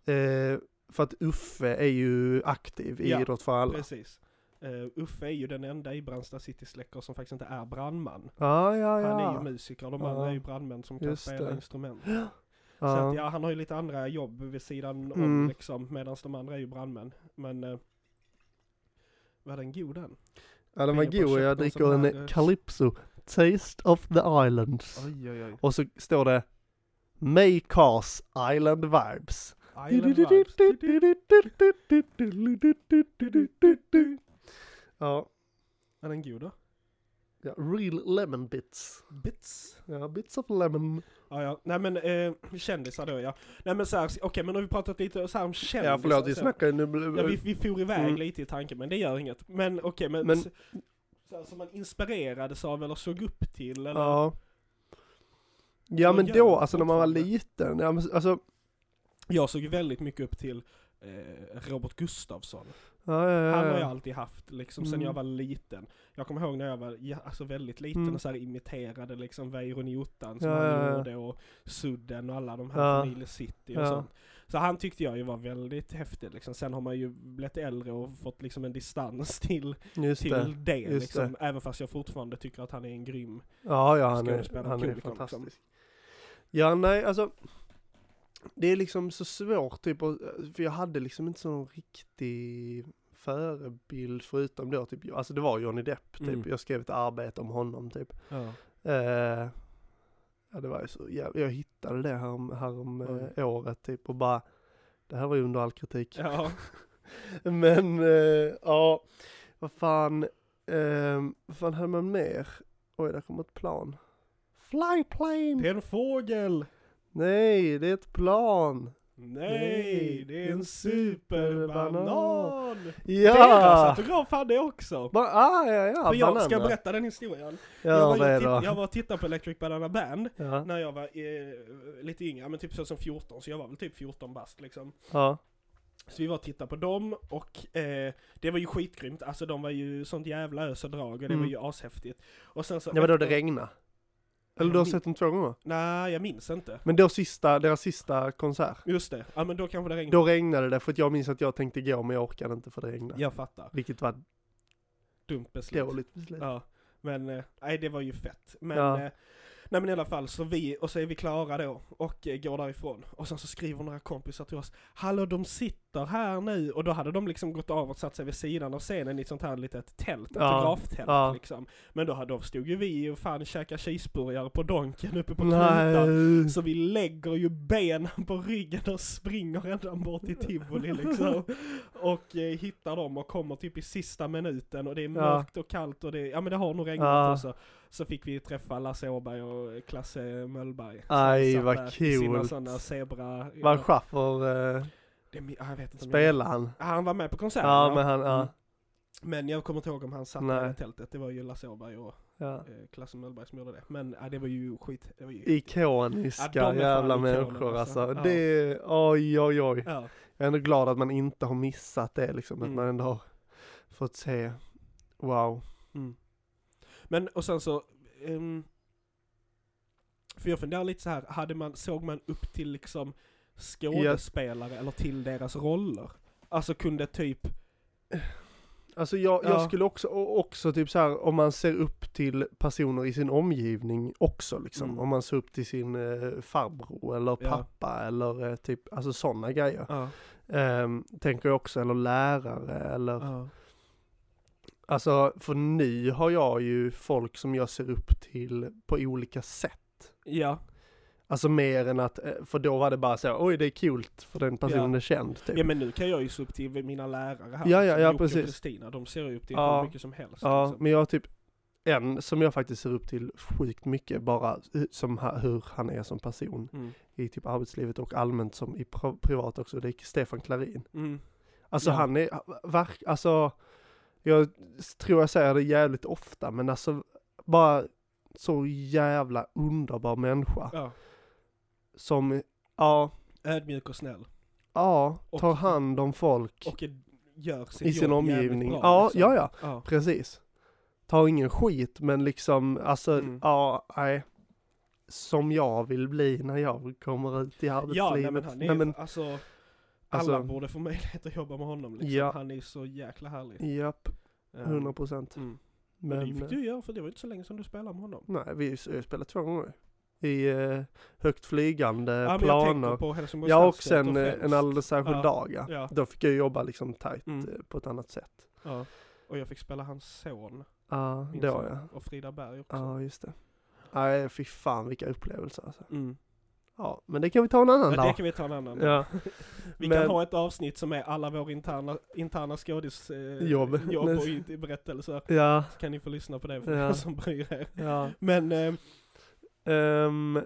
A: eh, för att Uffe är ju aktiv i
B: Ja,
A: Idrott för alla.
B: Precis. Eh, Uffe är ju den enda i Brandsta City Släcker som faktiskt inte är brandman.
A: Ja, ja, ja.
B: Han är ju musiker och de
A: Ja.
B: andra är ju brandmän som kan
A: Just
B: spela
A: det.
B: instrument.
A: ja.
B: Så att, ja, han har ju lite andra jobb vid sidan om
A: Mm.
B: liksom, medan de andra är ju brandmän. Men eh, var den god den?
A: Ja den var
B: Pengar på
A: god och jag
B: köttet och
A: dricker
B: sån här,
A: en
B: eh,
A: Calypso Taste of the Islands.
B: Oj, oj, oj.
A: Och så står det May cause island vibes.
B: Island Vibes.
A: Ja,
B: Var den god då?
A: ja, real lemon bits.
B: Bits.
A: Ja, bits of lemon.
B: Ja, ja. Nej men eh, kändisar då ja. Nej men såhär, okej men nu har vi pratat lite så här om kändisar.
A: Ja, förlåt vi
B: så.
A: snackar ju
B: alltså. Ja,
A: nu.
B: vi, vi for iväg
A: Mm.
B: lite i tanken, men det gör inget. Men okej, men,
A: Men-
B: men... Så, här, som man inspirerades av eller såg upp till eller...
A: Ja. Ja
B: Vad
A: men
B: gör
A: då,
B: man
A: alltså när man var
B: fortfarande?
A: liten, ja, men, alltså,
B: Jag såg ju väldigt mycket upp till eh, Robert Gustafsson.
A: ja, ja, ja,
B: Han har jag
A: ja.
B: alltid haft liksom
A: Eh.
B: sen
A: Mm.
B: jag var liten. Jag kommer ihåg när jag var ja, alltså väldigt liten
A: Mm.
B: och så här imiterade liksom Weiron Jottan som
A: Ja,
B: han
A: ja, ja.
B: gjorde och Sudden och alla de här
A: Ja.
B: från Ille City och
A: Ja.
B: sånt. Så han tyckte jag ju var väldigt häftig liksom. Sen har man ju blivit äldre och fått liksom en distans till,
A: Just
B: till
A: det.
B: det,
A: just
B: liksom. Även fast jag fortfarande tycker att han är en grym
A: Ja, ja, han är,
B: skådespelare,
A: han är
B: komiker,
A: fantastisk.
B: liksom.
A: Ja, nej, alltså. Det är liksom så svårt, typ, och- för jag hade liksom inte sån riktig förebild förutom då, typ, alltså det var Johnny Depp, typ.
B: Mm.
A: Jag skrev ett arbete om honom, typ.
B: Ja.
A: Eh, ja, det var ju så, jag, jag hittade det här om, här om
B: Oj.
A: eh, året, typ, och bara, det här var ju under all kritik.
B: Ja.
A: Men, eh, ja, vad fan, eh, vad fan hade man mer? Oj, där kommer ett plan. Flyplane!
B: Det är en fågel!
A: Nej, det är ett plan.
B: Nej, det är en superbanan!
A: Ja!
B: Deras autograf hade jag också!
A: Ba- ah, ja, ja,
B: alltså, För jag ska
A: banana.
B: berätta den historien. jag,
A: Gör
B: var ju
A: det
B: och titt- jag
A: då.
B: var och tittade på Electric Banana Band
A: Ja,
B: när jag var eh, lite yngre, men typ 2014, så jag var väl typ 14 bast liksom.
A: ja,
B: Så vi var och tittade på dem och eh, det var ju skitgrymt, alltså de var ju sånt jävla ös och drag och det
A: Mm.
B: var ju ashäftigt. Och sen så...
A: det var då det regnade. Eller du har
B: Mm.
A: sett dem två gånger?
B: Nej, jag minns inte.
A: Men då sista, deras sista konsert.
B: Just det, ja men då kanske det regnade.
A: Då regnade det för att jag minns att jag tänkte gå men jag orkade inte för det regnade.
B: Jag fattar.
A: Vilket var
B: Dumt beslut.
A: dåligt beslut.
B: Ja, men eh, nej det var ju fett. Men,
A: Ja.
B: eh, nej men i alla fall så vi, och så är vi klara då och eh, går därifrån. Och sen så skriver några kompisar till oss, hallå de sitter här nu. Och då hade de liksom gått av och satt sig vid sidan av scenen i ett sånt här litet tält, ett
A: Ja.
B: autograftält
A: Ja.
B: liksom. Men då, hade- då stod ju vi och fan käkade cheeseburgare på donken uppe på knutan.
A: Nej.
B: Så vi lägger ju benen på ryggen och springer ända bort till tivoli liksom. Och eh, hittar dem och kommer typ i sista minuten och det är mörkt och kallt och det, ja men det har nog regnat
A: Ja.
B: också. Så fick vi träffa Lasse Åberg och Klasse Möllberg.
A: Aj,
B: Som
A: vad
B: satt där i Sina
A: coolt.
B: sådana zebra...
A: Var
B: ja,
A: Schaffer, eh,
B: det, är min- ja, jag vet inte om jag-
A: spelade han?
B: Han var med på konserten
A: Ja,
B: ja.
A: men han, ja.
B: Mm. men jag kommer inte ihåg om han satt
A: Nej.
B: där i tältet. Det var ju Lasse Åberg och
A: ja.
B: eh, Klasse Möllberg som gjorde det. Men ja, det var ju skit. Det var ju...
A: Ikoniska
B: Ja, de är fan
A: jävla
B: ikoner,
A: människor
B: alltså.
A: alltså.
B: Ja.
A: Det, oj oj oj.
B: ja.
A: Jag är ändå glad att man inte har missat det liksom,
B: Mm.
A: att man ändå har fått se. Wow.
B: Mm. Men och sen så, ehm, för jag funderar lite så här, hade man, såg man upp till liksom skådespelare eller till deras roller? Alltså kunde typ,
A: Alltså jag,
B: Ja.
A: jag skulle också, och också typ så här, om man ser upp till personer i sin omgivning också liksom.
B: Mm.
A: Om man ser upp till sin eh, farbror eller
B: Ja.
A: pappa eller eh, typ, alltså sådana grejer.
B: ja,
A: Ehm, tänker jag också, eller lärare eller,
B: ja,
A: alltså för nu har jag ju folk som jag ser upp till på olika sätt.
B: ja,
A: Alltså mer än att, eh, för då var det bara så, oj det är kul för den personen
B: Ja.
A: är känd typ.
B: ja men nu kan jag ju se upp till mina lärare här.
A: Ja, ja,
B: liksom,
A: ja,
B: Jocke och
A: precis.
B: Kristina, de ser jag upp till
A: Ja.
B: hur mycket som helst.
A: Ja,
B: liksom.
A: men jag typ, en som jag faktiskt ser upp till sjukt mycket, bara hu- som ha, hur han är som person
B: Mm.
A: i typ arbetslivet och allmänt som i pro- privat också, det är Stefan Klarin.
B: Mm.
A: Alltså
B: Ja.
A: han är, verk, alltså, jag s- tror jag säger det jävligt ofta, men alltså bara så jävla underbar människa
B: Ja.
A: som, ja,
B: Ödmjuk och snäll.
A: ja,
B: Och-
A: tar hand om folk
B: Och gör sitt
A: i sin
B: jobb jävligt
A: omgivning.
B: Bra,
A: ja,
B: liksom.
A: ja, ja.
B: ja.
A: Precis. Tar ingen skit, men liksom, alltså,
B: Mm.
A: ja, nej. Som jag vill bli när jag kommer ut i arbetslivet.
B: Ja, nej men han är,
A: Nej, men,
B: alltså, alla
A: Alltså-
B: borde få möjlighet att jobba med honom liksom.
A: Ja.
B: Han är ju så jäkla härlig.
A: japp,
B: Ehm,
A: 100 procent.
B: Mm. Men,
A: Men,
B: det fick
A: eh,
B: du göra för det var ju inte så länge sedan du spelade med honom.
A: nej, vi har ju spelat två gånger. I eh, högt flygande
B: Ja, men jag tänker
A: Eh, planer.
B: på Helsingborgs
A: Ja, och
B: stadsteater
A: sen eh,
B: främst.
A: en alldeles särskild
B: Ja,
A: dag, ja.
B: ja.
A: Då fick jag jobba liksom tajt
B: Mm.
A: eh, på ett annat sätt.
B: Ja. Och jag fick spela hans son.
A: Ja,
B: minns
A: då
B: jag.
A: ja.
B: Och Frida Berg också.
A: Ja, just det. Nej, fy fan vilka upplevelser alltså.
B: Mm.
A: Ja, men det kan vi ta en annan
B: Ja, det
A: dag.
B: kan vi ta en annan.
A: Ja.
B: Vi
A: Men-
B: kan ha ett avsnitt som är alla våra interna, interna skådis eh,
A: Jobb.
B: jobb och inte berättelser.
A: Ja,
B: Så kan ni få lyssna på det för
A: Ja.
B: er som bryr er.
A: ja.
B: Men, eh,
A: Ehm,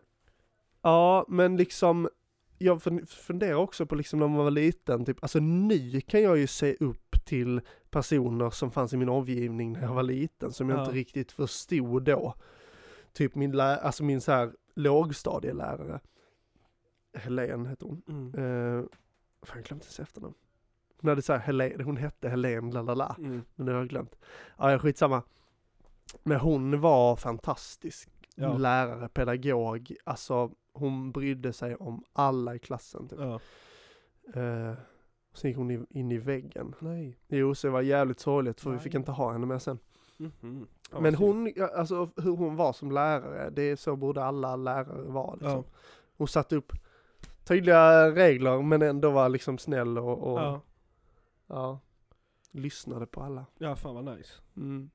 A: ja, men liksom, jag fun- funderar också på liksom när man var liten, typ, alltså nu kan jag ju se upp till personer som fanns i min omgivning när jag var liten, som jag
B: Ja.
A: inte riktigt förstod då. Typ min, lä- alltså min så här lågstadielärare, Helen hette hon.
B: mm,
A: Uh, fan, jag glömde ens efternamn. Hon hade så här, Helen, hon hette Helen, la la la,
B: mm,
A: men det har jag glömt. Ja, ja, skitsamma. Men hon var fantastisk
B: ja,
A: lärare, pedagog, alltså hon brydde sig om alla i klassen. Typ.
B: ja.
A: Eh, sen gick hon i- in i väggen.
B: Nej.
A: Jo, så det var jävligt sorgligt för vi
B: Nej.
A: fick inte ha henne med sen.
B: Mhm. Ja,
A: Men
B: synd.
A: hon, ja, alltså hur hon var som lärare, det är så borde alla lärare vara. Liksom.
B: ja,
A: Hon satte upp tydliga regler men ändå var liksom snäll och, och ja.
B: ja,
A: lyssnade på alla.
B: ja, fan vad nice.
A: Mm.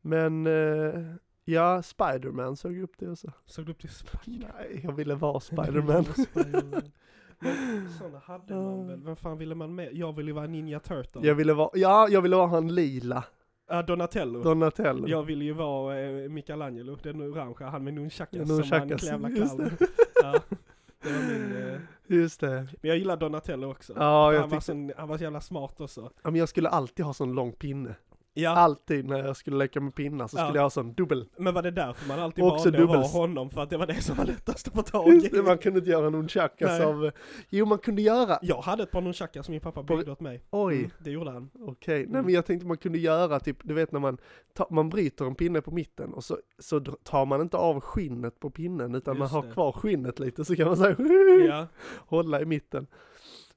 A: Men eh, ja, Spiderman såg upp det också.
B: Såg du upp till Spiderman?
A: Nej, jag ville vara Spiderman.
B: Spiderman. Men Sådana hade man väl? Vem fan ville man med? Jag ville ju vara Ninja Turtle.
A: Jag ville vara, ja jag ville vara han lila,
B: Ja, Donatello.
A: Donatello.
B: Jag ville ju vara eh, Michelangelo, den orangea, han med nunchakas som han
A: Nunchakas,
B: jävla
A: just
B: clown. Ja, det var min, eh,
A: Just det.
B: men jag gillar Donatello också.
A: Ja, jag
B: han, var
A: tyckte,
B: sån, han var så jävla smart också.
A: ja, men jag skulle alltid ha sån lång pinne.
B: Ja,
A: Alltid när jag skulle leka med pinnar så
B: Ja.
A: skulle jag ha sån dubbel.
B: men var det därför man alltid
A: Också
B: valde
A: dubbels.
B: att ha honom? För att det var det som var lättast att få tag
A: Just det,
B: i.
A: man kunde inte göra någon chakas
B: Nej.
A: av, eh, jo man kunde göra,
B: Jag hade ett par nunchakas som min pappa byggde åt mig.
A: oj,
B: Mm, det gjorde han.
A: okej. Nej
B: Mm.
A: men jag tänkte man kunde göra typ, du vet när man, ta, man bryter en pinne på mitten och så, så dr- tar man inte av skinnet på pinnen utan man
B: Just
A: har
B: det.
A: kvar skinnet lite så kan man säga
B: Ja,
A: hålla i mitten.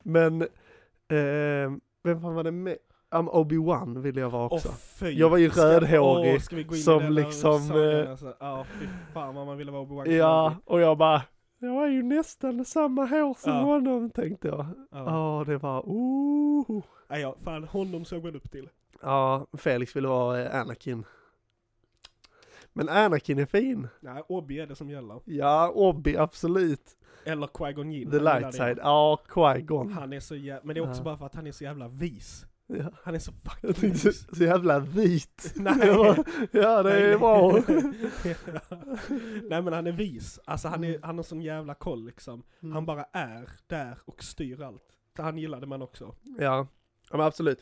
A: Men, eh, vem fan var det med? Um, Obi-Wan ville jag vara
B: och
A: också.
B: fy.
A: Jag var ju
B: Ska-
A: rödhårig
B: åh, ska vi gå in i
A: som
B: den där
A: liksom,
B: sagan,
A: eh,
B: alltså? Ja, fy fan vad man ville vara Obi-Wan
A: ja,
B: Kenobi.
A: och jag bara, jag är ju nästan samma hår som
B: Ja.
A: honom tänkte jag.
B: Ja.
A: Ja, det var, oh.
B: Nej, ja, fan honom såg man upp till.
A: Ja, Felix ville vara eh, Anakin. Men Anakin är fin.
B: Nej, Obi är det som gäller.
A: Ja, Obi, absolut.
B: Eller Qui-Gon Jinn.
A: The
B: han gillar
A: light
B: det.
A: side. Ja, Qui-Gon.
B: Han är så jävla, men det är också
A: Ja.
B: bara för att han är så jävla vis.
A: Ja.
B: Han är så
A: Jag
B: fucking
A: tänkte,
B: vis.
A: så jävla vit.
B: Nej.
A: ja, det
B: Nej, nej.
A: är bra.
B: Ja. Nej men han är vis. Alltså han, är, han har sån jävla koll liksom.
A: Mm.
B: Han bara är där och styr allt. Så han gillade man också.
A: Ja, ja men absolut.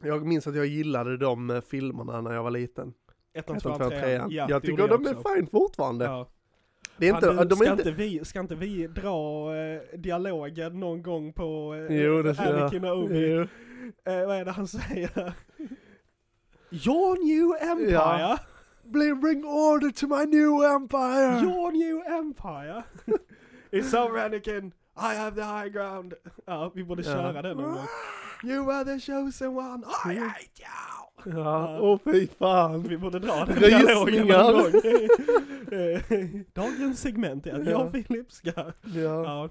A: Jag minns att jag gillade de eh, filmerna när jag var liten.
B: Ettan,
A: Jag,
B: tvåan, trean. Ja,
A: jag
B: det
A: tycker
B: gjorde jag
A: de är
B: också.
A: fine fortfarande.
B: Ja.
A: Det är inte,
B: Fan, du,
A: de
B: ska,
A: är inte,
B: inte vi, ska inte vi dra eh, dialogen någon gång på eh,
A: Jo, det ska jag.
B: Anakin och Obi?
A: Jo.
B: Eh, vad är det han säger? Your new empire!
A: Ja. Bli- Bring order to my new empire!
B: Your new empire! It's over Anakin! I have the high ground! Ja, vi borde
A: Ja. Ah,
B: köra den någon gång. You are the chosen one! I
A: Mm.
B: hate you!
A: Ja, åh fy fan.
B: Vi borde dra den
A: Rysningar.
B: dialogen någon gång. Eh, Dagens segment är att jag
A: Ja.
B: och Filip ska...
A: Ja.
B: Ja.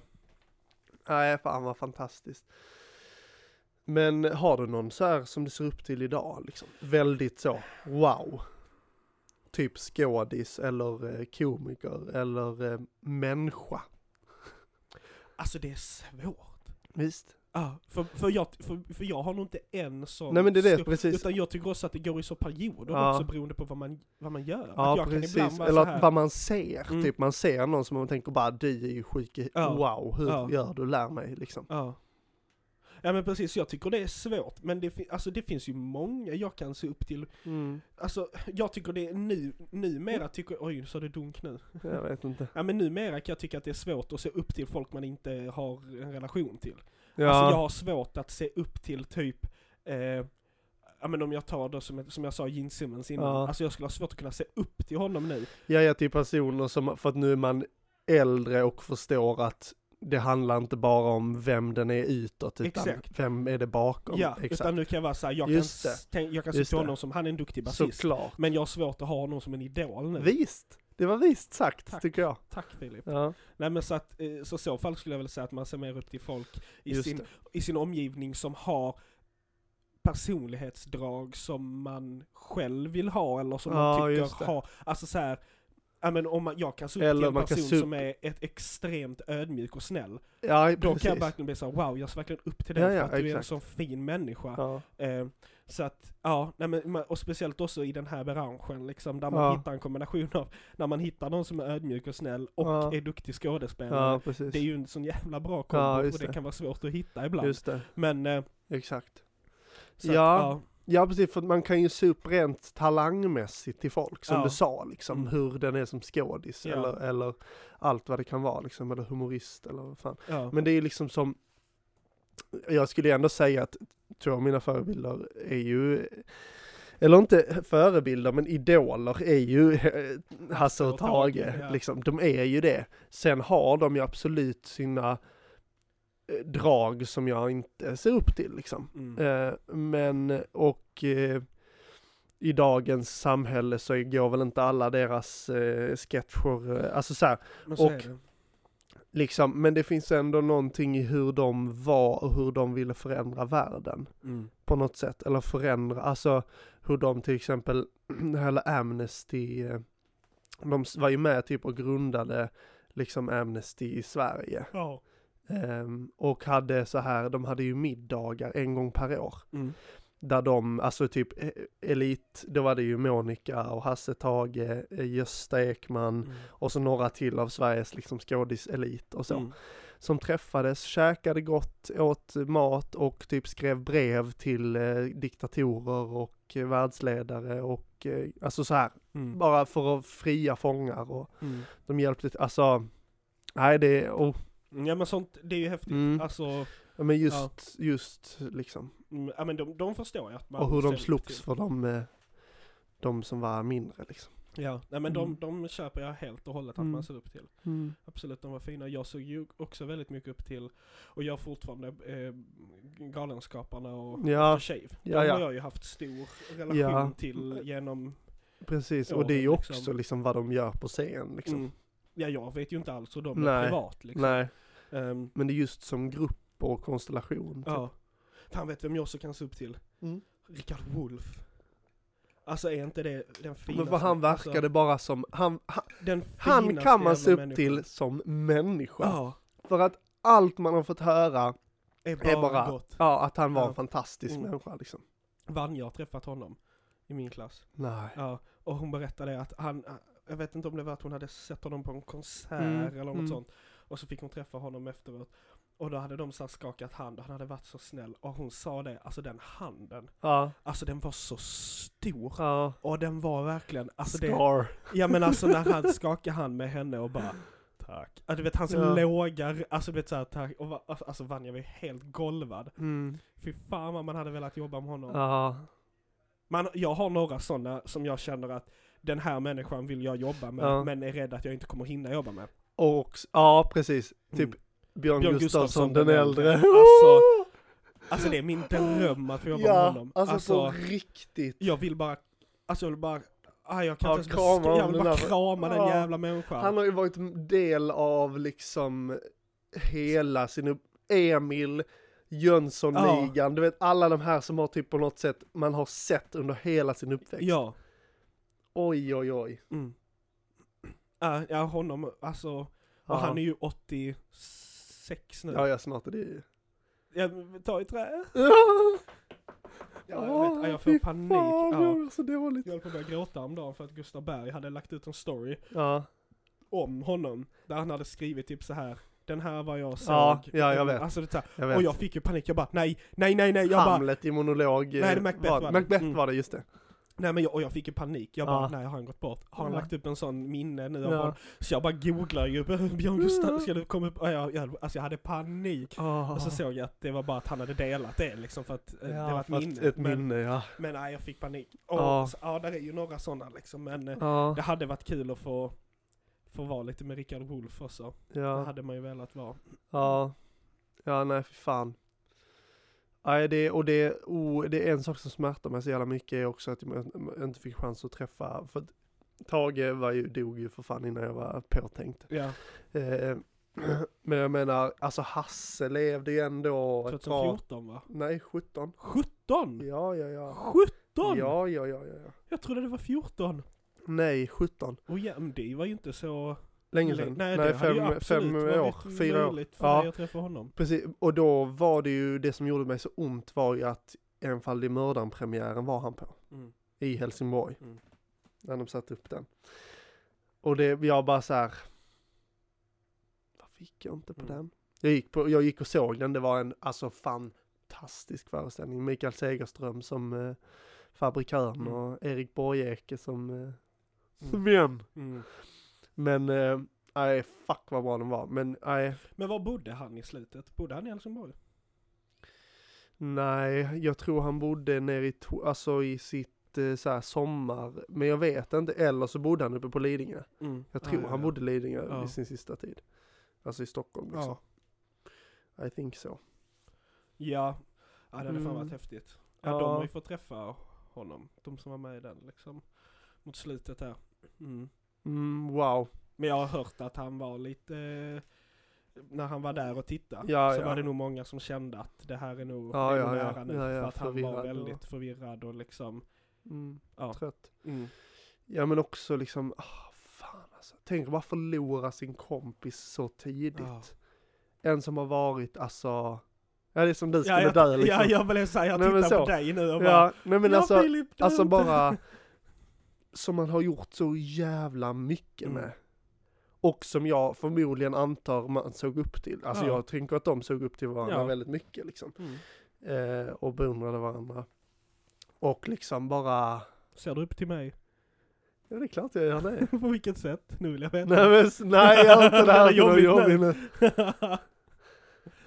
A: Nej, fan vad fantastiskt. Men har du någon så här som du ser upp till idag liksom? Väldigt så, wow. Typ skådis eller eh, komiker eller eh, människa.
B: Alltså det är svårt.
A: Visst?
B: Ah, för, för, jag, för, för jag har nog inte en sån
A: Nej men det är det,
B: stor-
A: precis.
B: Utan jag tycker också att det går i så perioder
A: Ja.
B: också beroende på vad man, vad man gör. att
A: Ja
B: jag kan ibland
A: precis,
B: vara
A: eller
B: så
A: att
B: här,
A: vad man ser,
B: Mm.
A: typ man ser någon som man tänker bara du är ju sjuk, i-
B: Ja.
A: wow, hur
B: Ja.
A: gör du, lär mig liksom.
B: Ja. Ja men precis, jag tycker det är svårt. Men det, fin- alltså, det finns ju många jag kan se upp till.
A: Mm.
B: Alltså jag tycker det är nu, numera tycker, oj så är det dunk nu.
A: Jag vet inte.
B: Ja men numera kan jag tycka att det är svårt att se upp till folk man inte har en relation till.
A: Ja,
B: Alltså jag har svårt att se upp till typ, eh, ja men om jag tar då som, som jag sa Gene Simmons innan,
A: Ja.
B: alltså jag skulle ha svårt att kunna se upp till honom nu.
A: jag är till personer som, för att nu är man äldre och förstår att det handlar inte bara om vem den är utåt, utan
B: Exakt.
A: vem är det bakom.
B: ja,
A: exakt.
B: utan nu kan jag vara såhär, jag,
A: Just
B: kan s- tänk- jag kan se
A: Just
B: till
A: det.
B: honom som, han är en duktig basist.
A: Såklart.
B: Men jag har svårt att ha honom som en idol nu.
A: Vist! Det var vist sagt,
B: eh, Tack.
A: tycker jag.
B: Tack Filip.
A: Ja,
B: Nej men så att, eh, så i så fall skulle jag väl säga att man ser mer upp till folk i,
A: just
B: sin,
A: det.
B: i sin omgivning som har personlighetsdrag som man själv vill ha eller som
A: Ja,
B: man
A: just det.
B: tycker har, alltså så här, ja men om man, jag kan se upp
A: Eller
B: till en
A: man kan
B: person
A: se upp-
B: som är ett extremt ödmjuk och snäll,
A: Ja,
B: då kan jag
A: precis.
B: verkligen bli såhär wow jag ser verkligen upp till dig
A: Ja,
B: för
A: ja,
B: att du är en
A: exakt.
B: sån fin människa.
A: Ja.
B: Eh, så att, ja, nej men, man- och speciellt också i den här branschen liksom, där man
A: Ja.
B: hittar en kombination av, när man hittar någon som är ödmjuk och snäll och
A: Ja.
B: är duktig skådespelare.
A: ja, precis.
B: eh, Det är ju en sån jävla bra kombo,
A: Ja,
B: och
A: just
B: det
A: det.
B: kan vara svårt att hitta ibland.
A: Just det,
B: Men, eh,
A: exakt.
B: så
A: Ja.
B: att,
A: Ja precis, för att man kan ju se upp rent talangmässigt till folk, som
B: Ja.
A: du sa liksom,
B: Mm.
A: hur den är som skådis
B: Ja.
A: eller, eller allt vad det kan vara liksom, eller humorist eller vad fan.
B: ja, ja.
A: Men det är ju liksom som, jag skulle ju ändå säga att två av mina förebilder är ju, eller inte förebilder, men idoler är ju eh, Hasse och Tage,
B: ja.
A: liksom, de är ju det. Sen har de ju absolut sina eh, drag som jag inte ser upp till liksom.
B: mm.
A: Eh, men, och eh, i dagens samhälle så går väl inte alla deras eh, sketcher, eh, alltså så här,
B: men så
A: och-
B: är det.
A: liksom, men det finns ändå någonting i hur de var och hur de ville förändra världen
B: Mm.
A: på något sätt, eller förändra, alltså hur de till exempel, hela Amnesty, eh, de s- var ju med typ och grundade liksom Amnesty i Sverige.
B: Ja.
A: Ehm, och hade så här, de hade ju middagar en gång per år
B: Mm.
A: där de, alltså typ eh, Elit, då var det ju Monica och Hasse Tage, eh, Gösta Ekman
B: Mm.
A: och så några till av Sveriges liksom skådiselit och så.
B: Mm.
A: Som träffades, käkade gott, åt mat och typ skrev brev till eh, diktatorer och eh, världsledare och eh, alltså så här,
B: Mm.
A: bara för att fria fångar och
B: Mm.
A: de hjälpte, till- alltså Nej det, och,
B: Ja men sånt, det är ju häftigt.
A: Mm.
B: Alltså,
A: ja, men just, just liksom,
B: mm, ja men de, de förstår jag att man
A: och hur
B: ser
A: de
B: upp
A: slogs
B: till.
A: för de, eh, de som var mindre liksom.
B: Ja, nej men
A: Mm.
B: de, de köper jag helt och hållet att
A: Mm.
B: man ser upp till. Absolut, de var fina. Jag såg ju också väldigt mycket upp till, och jag fortfarande, eh, Galenskaparna och
A: Ja.
B: After Shave.
A: Ja,
B: de
A: ja.
B: har jag ju haft stor relation
A: Ja. Mm.
B: till genom,
A: Precis,
B: Ja,
A: och det är ju också
B: liksom.
A: liksom. vad de gör på scen liksom.
B: mm, ja jag vet ju inte alls hur de är
A: Nej.
B: privat liksom.
A: Nej,
B: Ehm,
A: men det är just som grupp och konstellation. Typ.
B: ja. Fan vet vem jag också kan se upp till?
A: Mm.
B: Richard Wolff. Alltså är inte det den finaste?
A: typ. Men för han verkade
B: alltså,
A: bara som, han, han,
B: den
A: han
B: finaste
A: kan man se upp
B: jävla människan.
A: till som människa.
B: Ja,
A: För att allt man har fått höra,
B: är
A: är
B: bara,
A: bara-
B: gott.
A: ja att han var
B: Ja.
A: en fantastisk
B: Mm.
A: människa liksom.
B: Vanja har träffat honom i min klass.
A: Nej.
B: Ja, och hon berättade att han, jag vet inte om det var att hon hade sett honom på en konsert
A: Mm,
B: eller något
A: mm.
B: sånt. Och så fick hon träffa honom efteråt. Och då hade de så här skakat hand, han hade varit så snäll. Och hon sa det, alltså den handen,
A: Ja.
B: alltså den var så stor.
A: ja.
B: Och den var verkligen, alltså det,
A: Scar.
B: ja men alltså när han skakade hand med henne och bara Tack. Ja, du vet hans
A: Ja.
B: låga, alltså du vet såhär tack, och va, alltså Vanja var ju helt golvad.
A: Mm.
B: Fy fan vad man hade velat jobba med honom.
A: Ja.
B: Man, jag har några sådana som jag känner att den här människan vill jag jobba med,
A: Ja.
B: men är rädd att jag inte kommer hinna jobba med.
A: Och, ja precis. Typ
B: Mm.
A: Björn,
B: Björn Gustafsson,
A: Gustafsson den
B: den
A: äldre.
B: äldre. Alltså, Alltså det är min dröm att få jobba med
A: ja,
B: honom.
A: alltså,
B: Alltså,
A: på riktigt.
B: jag vill bara, alltså jag vill bara, ah, jag kan
A: Ja,
B: inte ens
A: krama
B: beskriva, jag
A: om
B: vill
A: den
B: bara
A: där-
B: krama den
A: Ja.
B: jävla människan.
A: Han har ju varit en del av liksom hela sin upp- Emil, Jönssonligan, du vet alla de här som har typ på något sätt man har sett under hela sin uppväxt.
B: ja.
A: Oj oj oj.
B: Mm. Ah, ja, honom, alltså,
A: Ja.
B: och han är ju 86 nu.
A: Ja, ja snart är det ju.
B: Ja, men ta i trä.
A: Ja,
B: Ja, jag, vet, Ja, jag
A: fy
B: får panik.
A: Fan,
B: Ja.
A: det var så dåligt.
B: Jag höll på att börja gråta om dagen för att Gustav Berg hade lagt ut en story
A: Ja,
B: om honom. Där han hade skrivit typ så här. Den här var jag såg.
A: Ja, ja, jag vet.
B: Alltså, det är så här,
A: jag vet.
B: och jag fick ju panik. Jag bara nej, nej, nej, nej. Jag bara,
A: Hamlet i monolog. eh,
B: Nej, det är Macbeth
A: var,
B: var det.
A: Macbeth
B: Mm.
A: var det, just det.
B: nej men jag, och jag fick ju panik. Jag bara
A: Ja.
B: nej, har han gått bort? Har han
A: Ja.
B: lagt upp en sån minne nu? av
A: Ja.
B: honom? Så jag bara googlar ju Björn Gustaf,
A: Ja.
B: ska du komma upp? Ja, jag, jag, alltså jag hade panik. Och så
A: Ah.
B: såg jag att det var bara att han hade delat det liksom för att eh, det var ett
A: fast
B: minne.
A: Ett
B: men,
A: minne, ja.
B: men nej, jag fick panik. Och,
A: Ja.
B: ja. Så, ja, där är ju några sådana liksom. Men eh,
A: Ja,
B: det hade varit kul att få, få vara lite med Rickard Wolff också. Det
A: ja,
B: hade man ju velat vara.
A: ja. Ja, nej för fan. Nej, det, och det, oh, det är en sak som smärtar mig så jävla mycket är också att jag inte fick chans att träffa, för att Tage var ju, dog ju för fan innan jag var påtänkt.
B: Ja,
A: Eh, men jag menar, alltså Hasse levde ju ändå ett bra...
B: 2014 va?
A: Nej, 17.
B: 17?
A: Ja, ja, ja.
B: 17?
A: Ja, ja, ja, ja. ja.
B: Jag trodde det var 14.
A: Nej, 17.
B: Och ja, men det var ju inte så...
A: Länge sedan.
B: Nej, det hade ju
A: fem,
B: absolut
A: fem
B: varit
A: år, fyra år.
B: möjligt för
A: Ja.
B: mig att träffa honom.
A: Precis, och då var det ju, det som gjorde mig så ont var ju att Enfaldig mördaren-premiären var han på.
B: Mm.
A: I Helsingborg.
B: Mm.
A: När de satte upp den. Och det, jag bara så här. Varför gick jag inte på
B: Mm.
A: den? Jag gick, på, jag gick och såg den, det var en alltså fantastisk föreställning. Mikael Segerström som eh, fabrikörn
B: Mm.
A: och Erik Borgeke som eh, Sven.
B: Mm.
A: Men, eh, nej fuck vad bra den var. Men nej,
B: Men var bodde han i slutet? Bodde han i Helsingborg?
A: Nej, jag tror han bodde nere i, to- alltså i sitt eh, så här, sommar, men jag vet inte, eller så bodde han uppe på Lidingö. Mm. Jag tror han bodde i Lidingö
B: Ah, Ja.
A: i sin sista tid. Alltså i Stockholm liksom.
B: Ja.
A: I think so.
B: Ja, ja det hade
A: Mm.
B: fan varit häftigt. Ja,
A: Ja.
B: de har ju fått träffa honom, de som var med i den liksom. Mot slutet där. Mm.
A: Mm, wow.
B: Men jag har hört att han var lite, eh, när han var där och tittade,
A: Ja,
B: så
A: ja.
B: var det nog många som kände att det här är nog,
A: Ja,
B: det är
A: ja,
B: nog
A: ja.
B: nära nu.
A: Ja, ja,
B: för att han
A: förvirrad
B: var
A: och-
B: väldigt förvirrad och liksom,
A: Mm,
B: ja.
A: Trött.
B: Mm.
A: Ja men också liksom, ah, fan alltså. Tänk att bara förlora sin kompis så tidigt.
B: Ja.
A: En som har varit, alltså, ja det är som du skulle
B: Ja, jag,
A: dö liksom.
B: ja, jag blev såhär, jag
A: Nej, men
B: tittar på
A: så.
B: dig nu och bara, ja,
A: ja nej men alltså.
B: Filip, du är
A: Alltså
B: inte-
A: bara som man har gjort så jävla mycket
B: Mm.
A: med. Och som jag förmodligen antar man såg upp till. Alltså
B: Ja.
A: jag tänker att de såg upp till varandra
B: Ja.
A: väldigt mycket liksom.
B: Mm.
A: Eh, och beundrade varandra. Och liksom bara,
B: Ser du upp till mig?
A: ja det är klart jag gör det.
B: på vilket sätt? Nu vill jag veta.
A: nej men s- nej jag har inte det här
B: Det är
A: jobbigt,
B: jobbigt
A: jobbigt nu.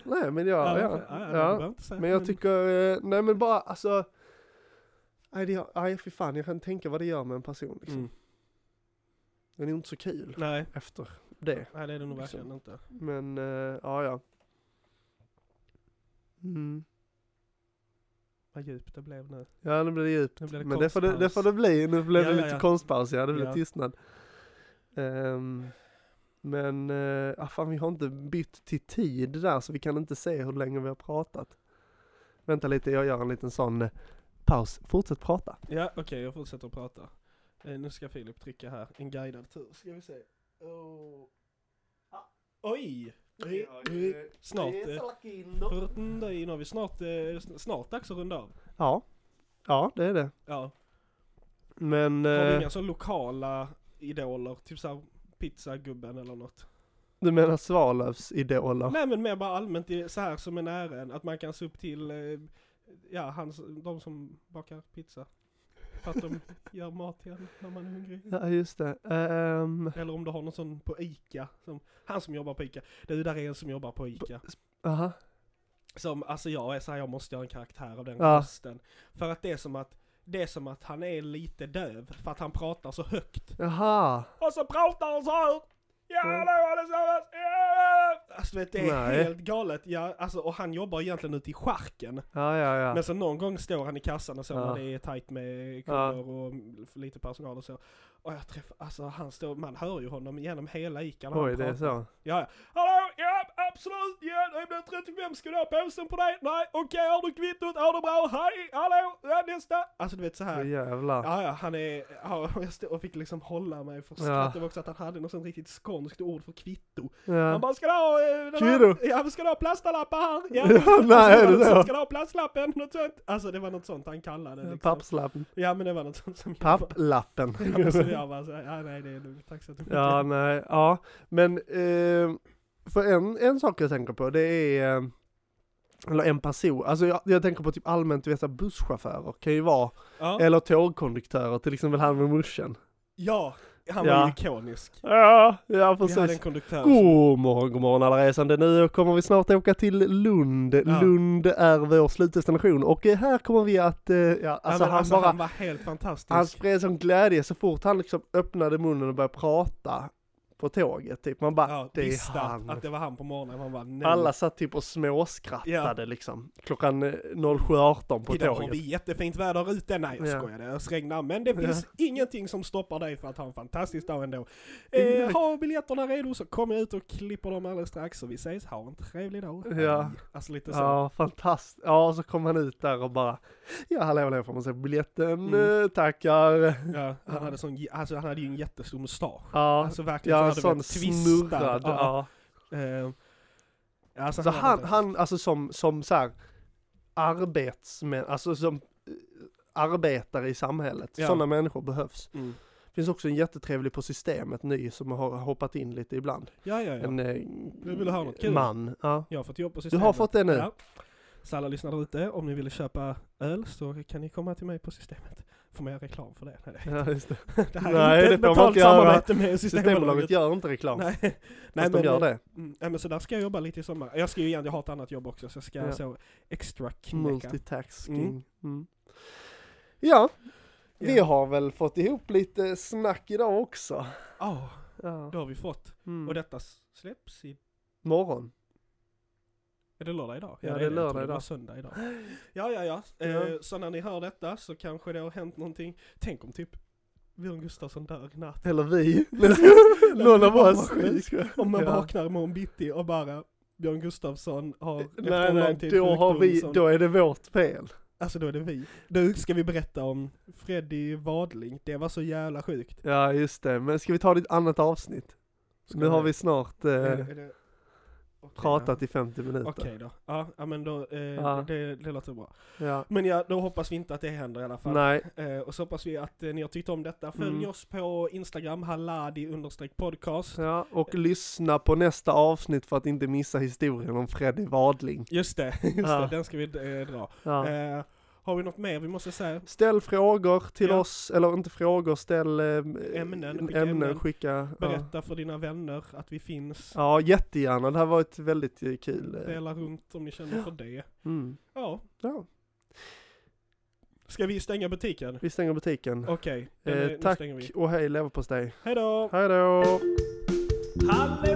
A: Nej men jag, ja.
B: ja,
A: ja.
B: ja. ja.
A: Men jag tycker, eh, nej men bara alltså. Nej, det, gör- nej fy fan jag kan tänka vad det gör med en person liksom.
B: Mm.
A: Den är ju inte så kul
B: Nej,
A: efter det.
B: nej det är det nog
A: Liksom.
B: verkligen inte.
A: Men, eh, ja ja. Mm.
B: Vad djupt det blev nu.
A: Ja nu blir det djupt.
B: Nu blir det
A: Men det får det, det
B: konstpaus.
A: får det bli, nu blev
B: Ja,
A: det
B: ja,
A: lite
B: ja.
A: konstpaus ja, det blev
B: Ja.
A: tystnad. Ehm, men, eh, ah, fan vi har inte bytt till tid där så vi kan inte se hur länge vi har pratat. Vänta lite, jag gör en liten sån eh, paus. Fortsätt prata.
B: Ja, okej jag fortsätter att prata. Eh, nu ska Filip trycka här, en guidad tur. Ska vi se. Oh. Ah. Oj! Oj, oj, oj. Snart, eh, för- mm, där inne har vi snart, eh, sn- snart dags att runda av.
A: Ja, ja det är det.
B: Ja,
A: Men,
B: har vi
A: eh,
B: inga så lokala idoler? Typ såhär pizzagubben eller något?
A: du menar Svalövs idoler?
B: Nej men mer bara allmänt i- så här som är nära en, att man kan se upp till, eh, ja, hans, de som bakar pizza. För att de gör mat igen när man är hungrig.
A: Ja just det. Ehm,
B: Eller om du har någon sån på ICA, som, han som jobbar på ICA. Du, där är en som jobbar på ICA.
A: aha.
B: Som, alltså jag är så här, jag måste göra en karaktär av den
A: Ja.
B: rösten. För att det är som att, det är som att han är lite döv, för att han pratar så högt.
A: Jaha.
B: Och så pratar han så här! Ja,
A: Mm.
B: hallå allesammans! Ja! Alltså du vet, det är
A: Nej.
B: helt galet. Ja, alltså, och han jobbar egentligen ute i charken.
A: Ja ja ja.
B: Men så någon gång står han i kassan och så
A: Ja.
B: när det är tajt med kunder och lite personal och så. Och jag träffar, alltså han står, man hör ju honom genom hela ICA när
A: Oj
B: han
A: det är
B: pratar.
A: så.
B: Ja, ja. Hallå, ja, absolut, ja, det blir 35, ska du ha påsen på dig? Nej, okej, har du kvittot? Ha det bra, hej, hallå, ja, nästa! Alltså du vet så
A: Åh,
B: här.
A: jävlar.
B: Ja, ja, han är, ja, jag stod och fick liksom hålla mig för
A: Ja.
B: skratt över också att han hade något sånt riktigt skånskt ord för kvitto. Han
A: Ja.
B: bara, ska du ha, eh, den
A: Kvitto?
B: här, ja, ska du ha plastlappar här?
A: Ja,
B: Ja,
A: nej,
B: Och så var
A: är det
B: något
A: så?
B: sånt, Ska du ha plastlappen? Något sånt. Alltså det var något sånt han kallade det liksom.
A: Pappslappen.
B: Ja, men det var något sånt som jag bara-
A: Papplappen.
B: Ja, men så jag bara, så, här, ja, nej, det är lugnt, tack så mycket.
A: Ja, nej, ja. Men eh, för en, en sak jag tänker på det är, eh, eller en person, alltså jag, jag tänker på typ allmänt du vet, så här, busschaufförer kan ju vara,
B: Ja.
A: eller tågkonduktörer, till exempel han med morsan.
B: Ja, han
A: Ja.
B: var ju ikonisk.
A: Ja, ja
B: Vi hade en
A: precis.
B: konduktör som-
A: God morgon, god morgon alla resande. Nu kommer vi snart åka till Lund.
B: Ja.
A: Lund är vår slutdestination och eh, här kommer vi att, eh, ja,
B: Ja,
A: alltså,
B: men
A: han
B: alltså,
A: bara,
B: han var helt fantastisk.
A: Han spred sån glädje så fort han liksom öppnade munnen och började prata på tåget. Typ. Man bara,
B: ja,
A: det är
B: visste att-
A: han.
B: att det var han på morgonen. Han bara, nej.
A: Alla satt typ och småskrattade liksom. Klockan eh, 07.18 på
B: Idag har
A: tåget.
B: vi jättefint väder ute. Nej, jag
A: Ja.
B: skojar. Det ösregnar. Men det finns ingenting som stoppar dig för att ha en fantastisk dag ändå. Eh,
A: Exakt.
B: ha biljetterna redo så kommer jag ut och klipper dem alldeles strax. Så vi ses. Ha en trevlig dag.
A: Ja.
B: Alltså lite så.
A: Ja, fantastiskt. Ja, och så kom han ut där och bara, ja hallå hallå, får man se biljetten?
B: Mm.
A: Eh, Tackar.
B: Ja, han, hade sån, alltså, han hade ju en jättestor mustasch.
A: Ja,
B: Alltså verkligen
A: ja
B: så
A: sån snurrad. Ja.
B: Eh, alltså,
A: Så
B: var
A: han,
B: fantastisk.
A: han alltså som, som så här, arbetsmän, alltså som eh, arbetare i samhället.
B: Ja.
A: Sådana människor behövs.
B: Mm.
A: finns också en jättetrevlig på systemet ny som har hoppat in lite ibland.
B: Ja, ja, ja.
A: En eh,
B: Du ville ha något kul.
A: man. Ja.
B: Jag har fått jobb på
A: Du
B: systemet.
A: har fått det nu?
B: Ja. Så alla lyssnare där ute, om ni vill köpa öl så kan ni komma till mig på systemet. Får man göra reklam för det? Nej, det-
A: Ja, just det.
B: det här
A: Nej,
B: är inte
A: det får man
B: ett betalt
A: inte göra.
B: samarbete
A: Systembolaget
B: med Systembolaget.
A: gör inte reklam.
B: Nej,
A: fast de gör det.
B: Mm, nej, men så där ska jag jobba lite i sommar. Jag ska ju igen, jag har ett annat jobb också så jag ska
A: Ja.
B: så extra knäcka.
A: Multitasking.
B: Mm.
A: Mm. Ja, vi
B: Ja.
A: har väl fått ihop lite snack idag också.
B: Ja,
A: Ja.
B: det har vi fått.
A: Mm.
B: Och detta s- släpps i...
A: Morgon.
B: Är det lördag idag?
A: Ja, det är
B: Jag
A: lördag
B: trodde Det var
A: idag.
B: söndag idag. Ja, ja, ja. Eh,
A: Ja.
B: Så när ni hör detta så kanske det har hänt någonting. Tänk om typ Björn Gustafsson dör i natt.
A: Eller vi.
B: Liksom.
A: Någon av oss.
B: Om man
A: Ja.
B: vaknar imorgon bitti och bara Björn Gustafsson har efter
A: Nej,
B: en lång
A: nej,
B: tid
A: då, har
B: sjukdom
A: vi,
B: som-
A: då är det vårt fel.
B: Alltså då är det vi. Nu ska vi berätta om Freddy Wadling, det var så jävla sjukt.
A: Ja, just det. Men ska vi ta ett annat avsnitt?
B: Ska
A: nu har vi snart...
B: Är det-
A: Eh,
B: är det- Okej,
A: pratat
B: ja.
A: i 50 minuter.
B: Okej då, ja ja, men då, eh,
A: Ja.
B: Det, det låter bra.
A: Ja.
B: Men ja, då hoppas vi inte att det händer i alla fall.
A: Nej,
B: Eh, och så hoppas vi att eh, ni har tyckt om detta. Följ
A: Mm.
B: oss på Instagram, haladi-podcast.
A: ja, och lyssna på nästa avsnitt för att inte missa historien om Freddy Wadling.
B: Just det, just
A: Ja.
B: det, den ska vi eh, dra.
A: Ja.
B: Eh, har vi något mer vi måste säga?
A: Ställ frågor till
B: Ja.
A: oss, eller inte frågor, ställ eh,
B: Ämnen, skicka
A: skicka,
B: ämnen.
A: ämnen, skicka ja.
B: Berätta för dina vänner att vi finns.
A: ja, jättegärna. Det här var ett väldigt eh, kul. eh,
B: Dela runt om ni känner för det.
A: Mm.
B: Ja.
A: Ja,
B: Ska vi stänga butiken?
A: vi stänger butiken.
B: Okej, den är-
A: eh,
B: nu
A: tack
B: stänger vi.
A: och hej leverpastej.
B: Hej då!
A: Hej då!
B: Hallå!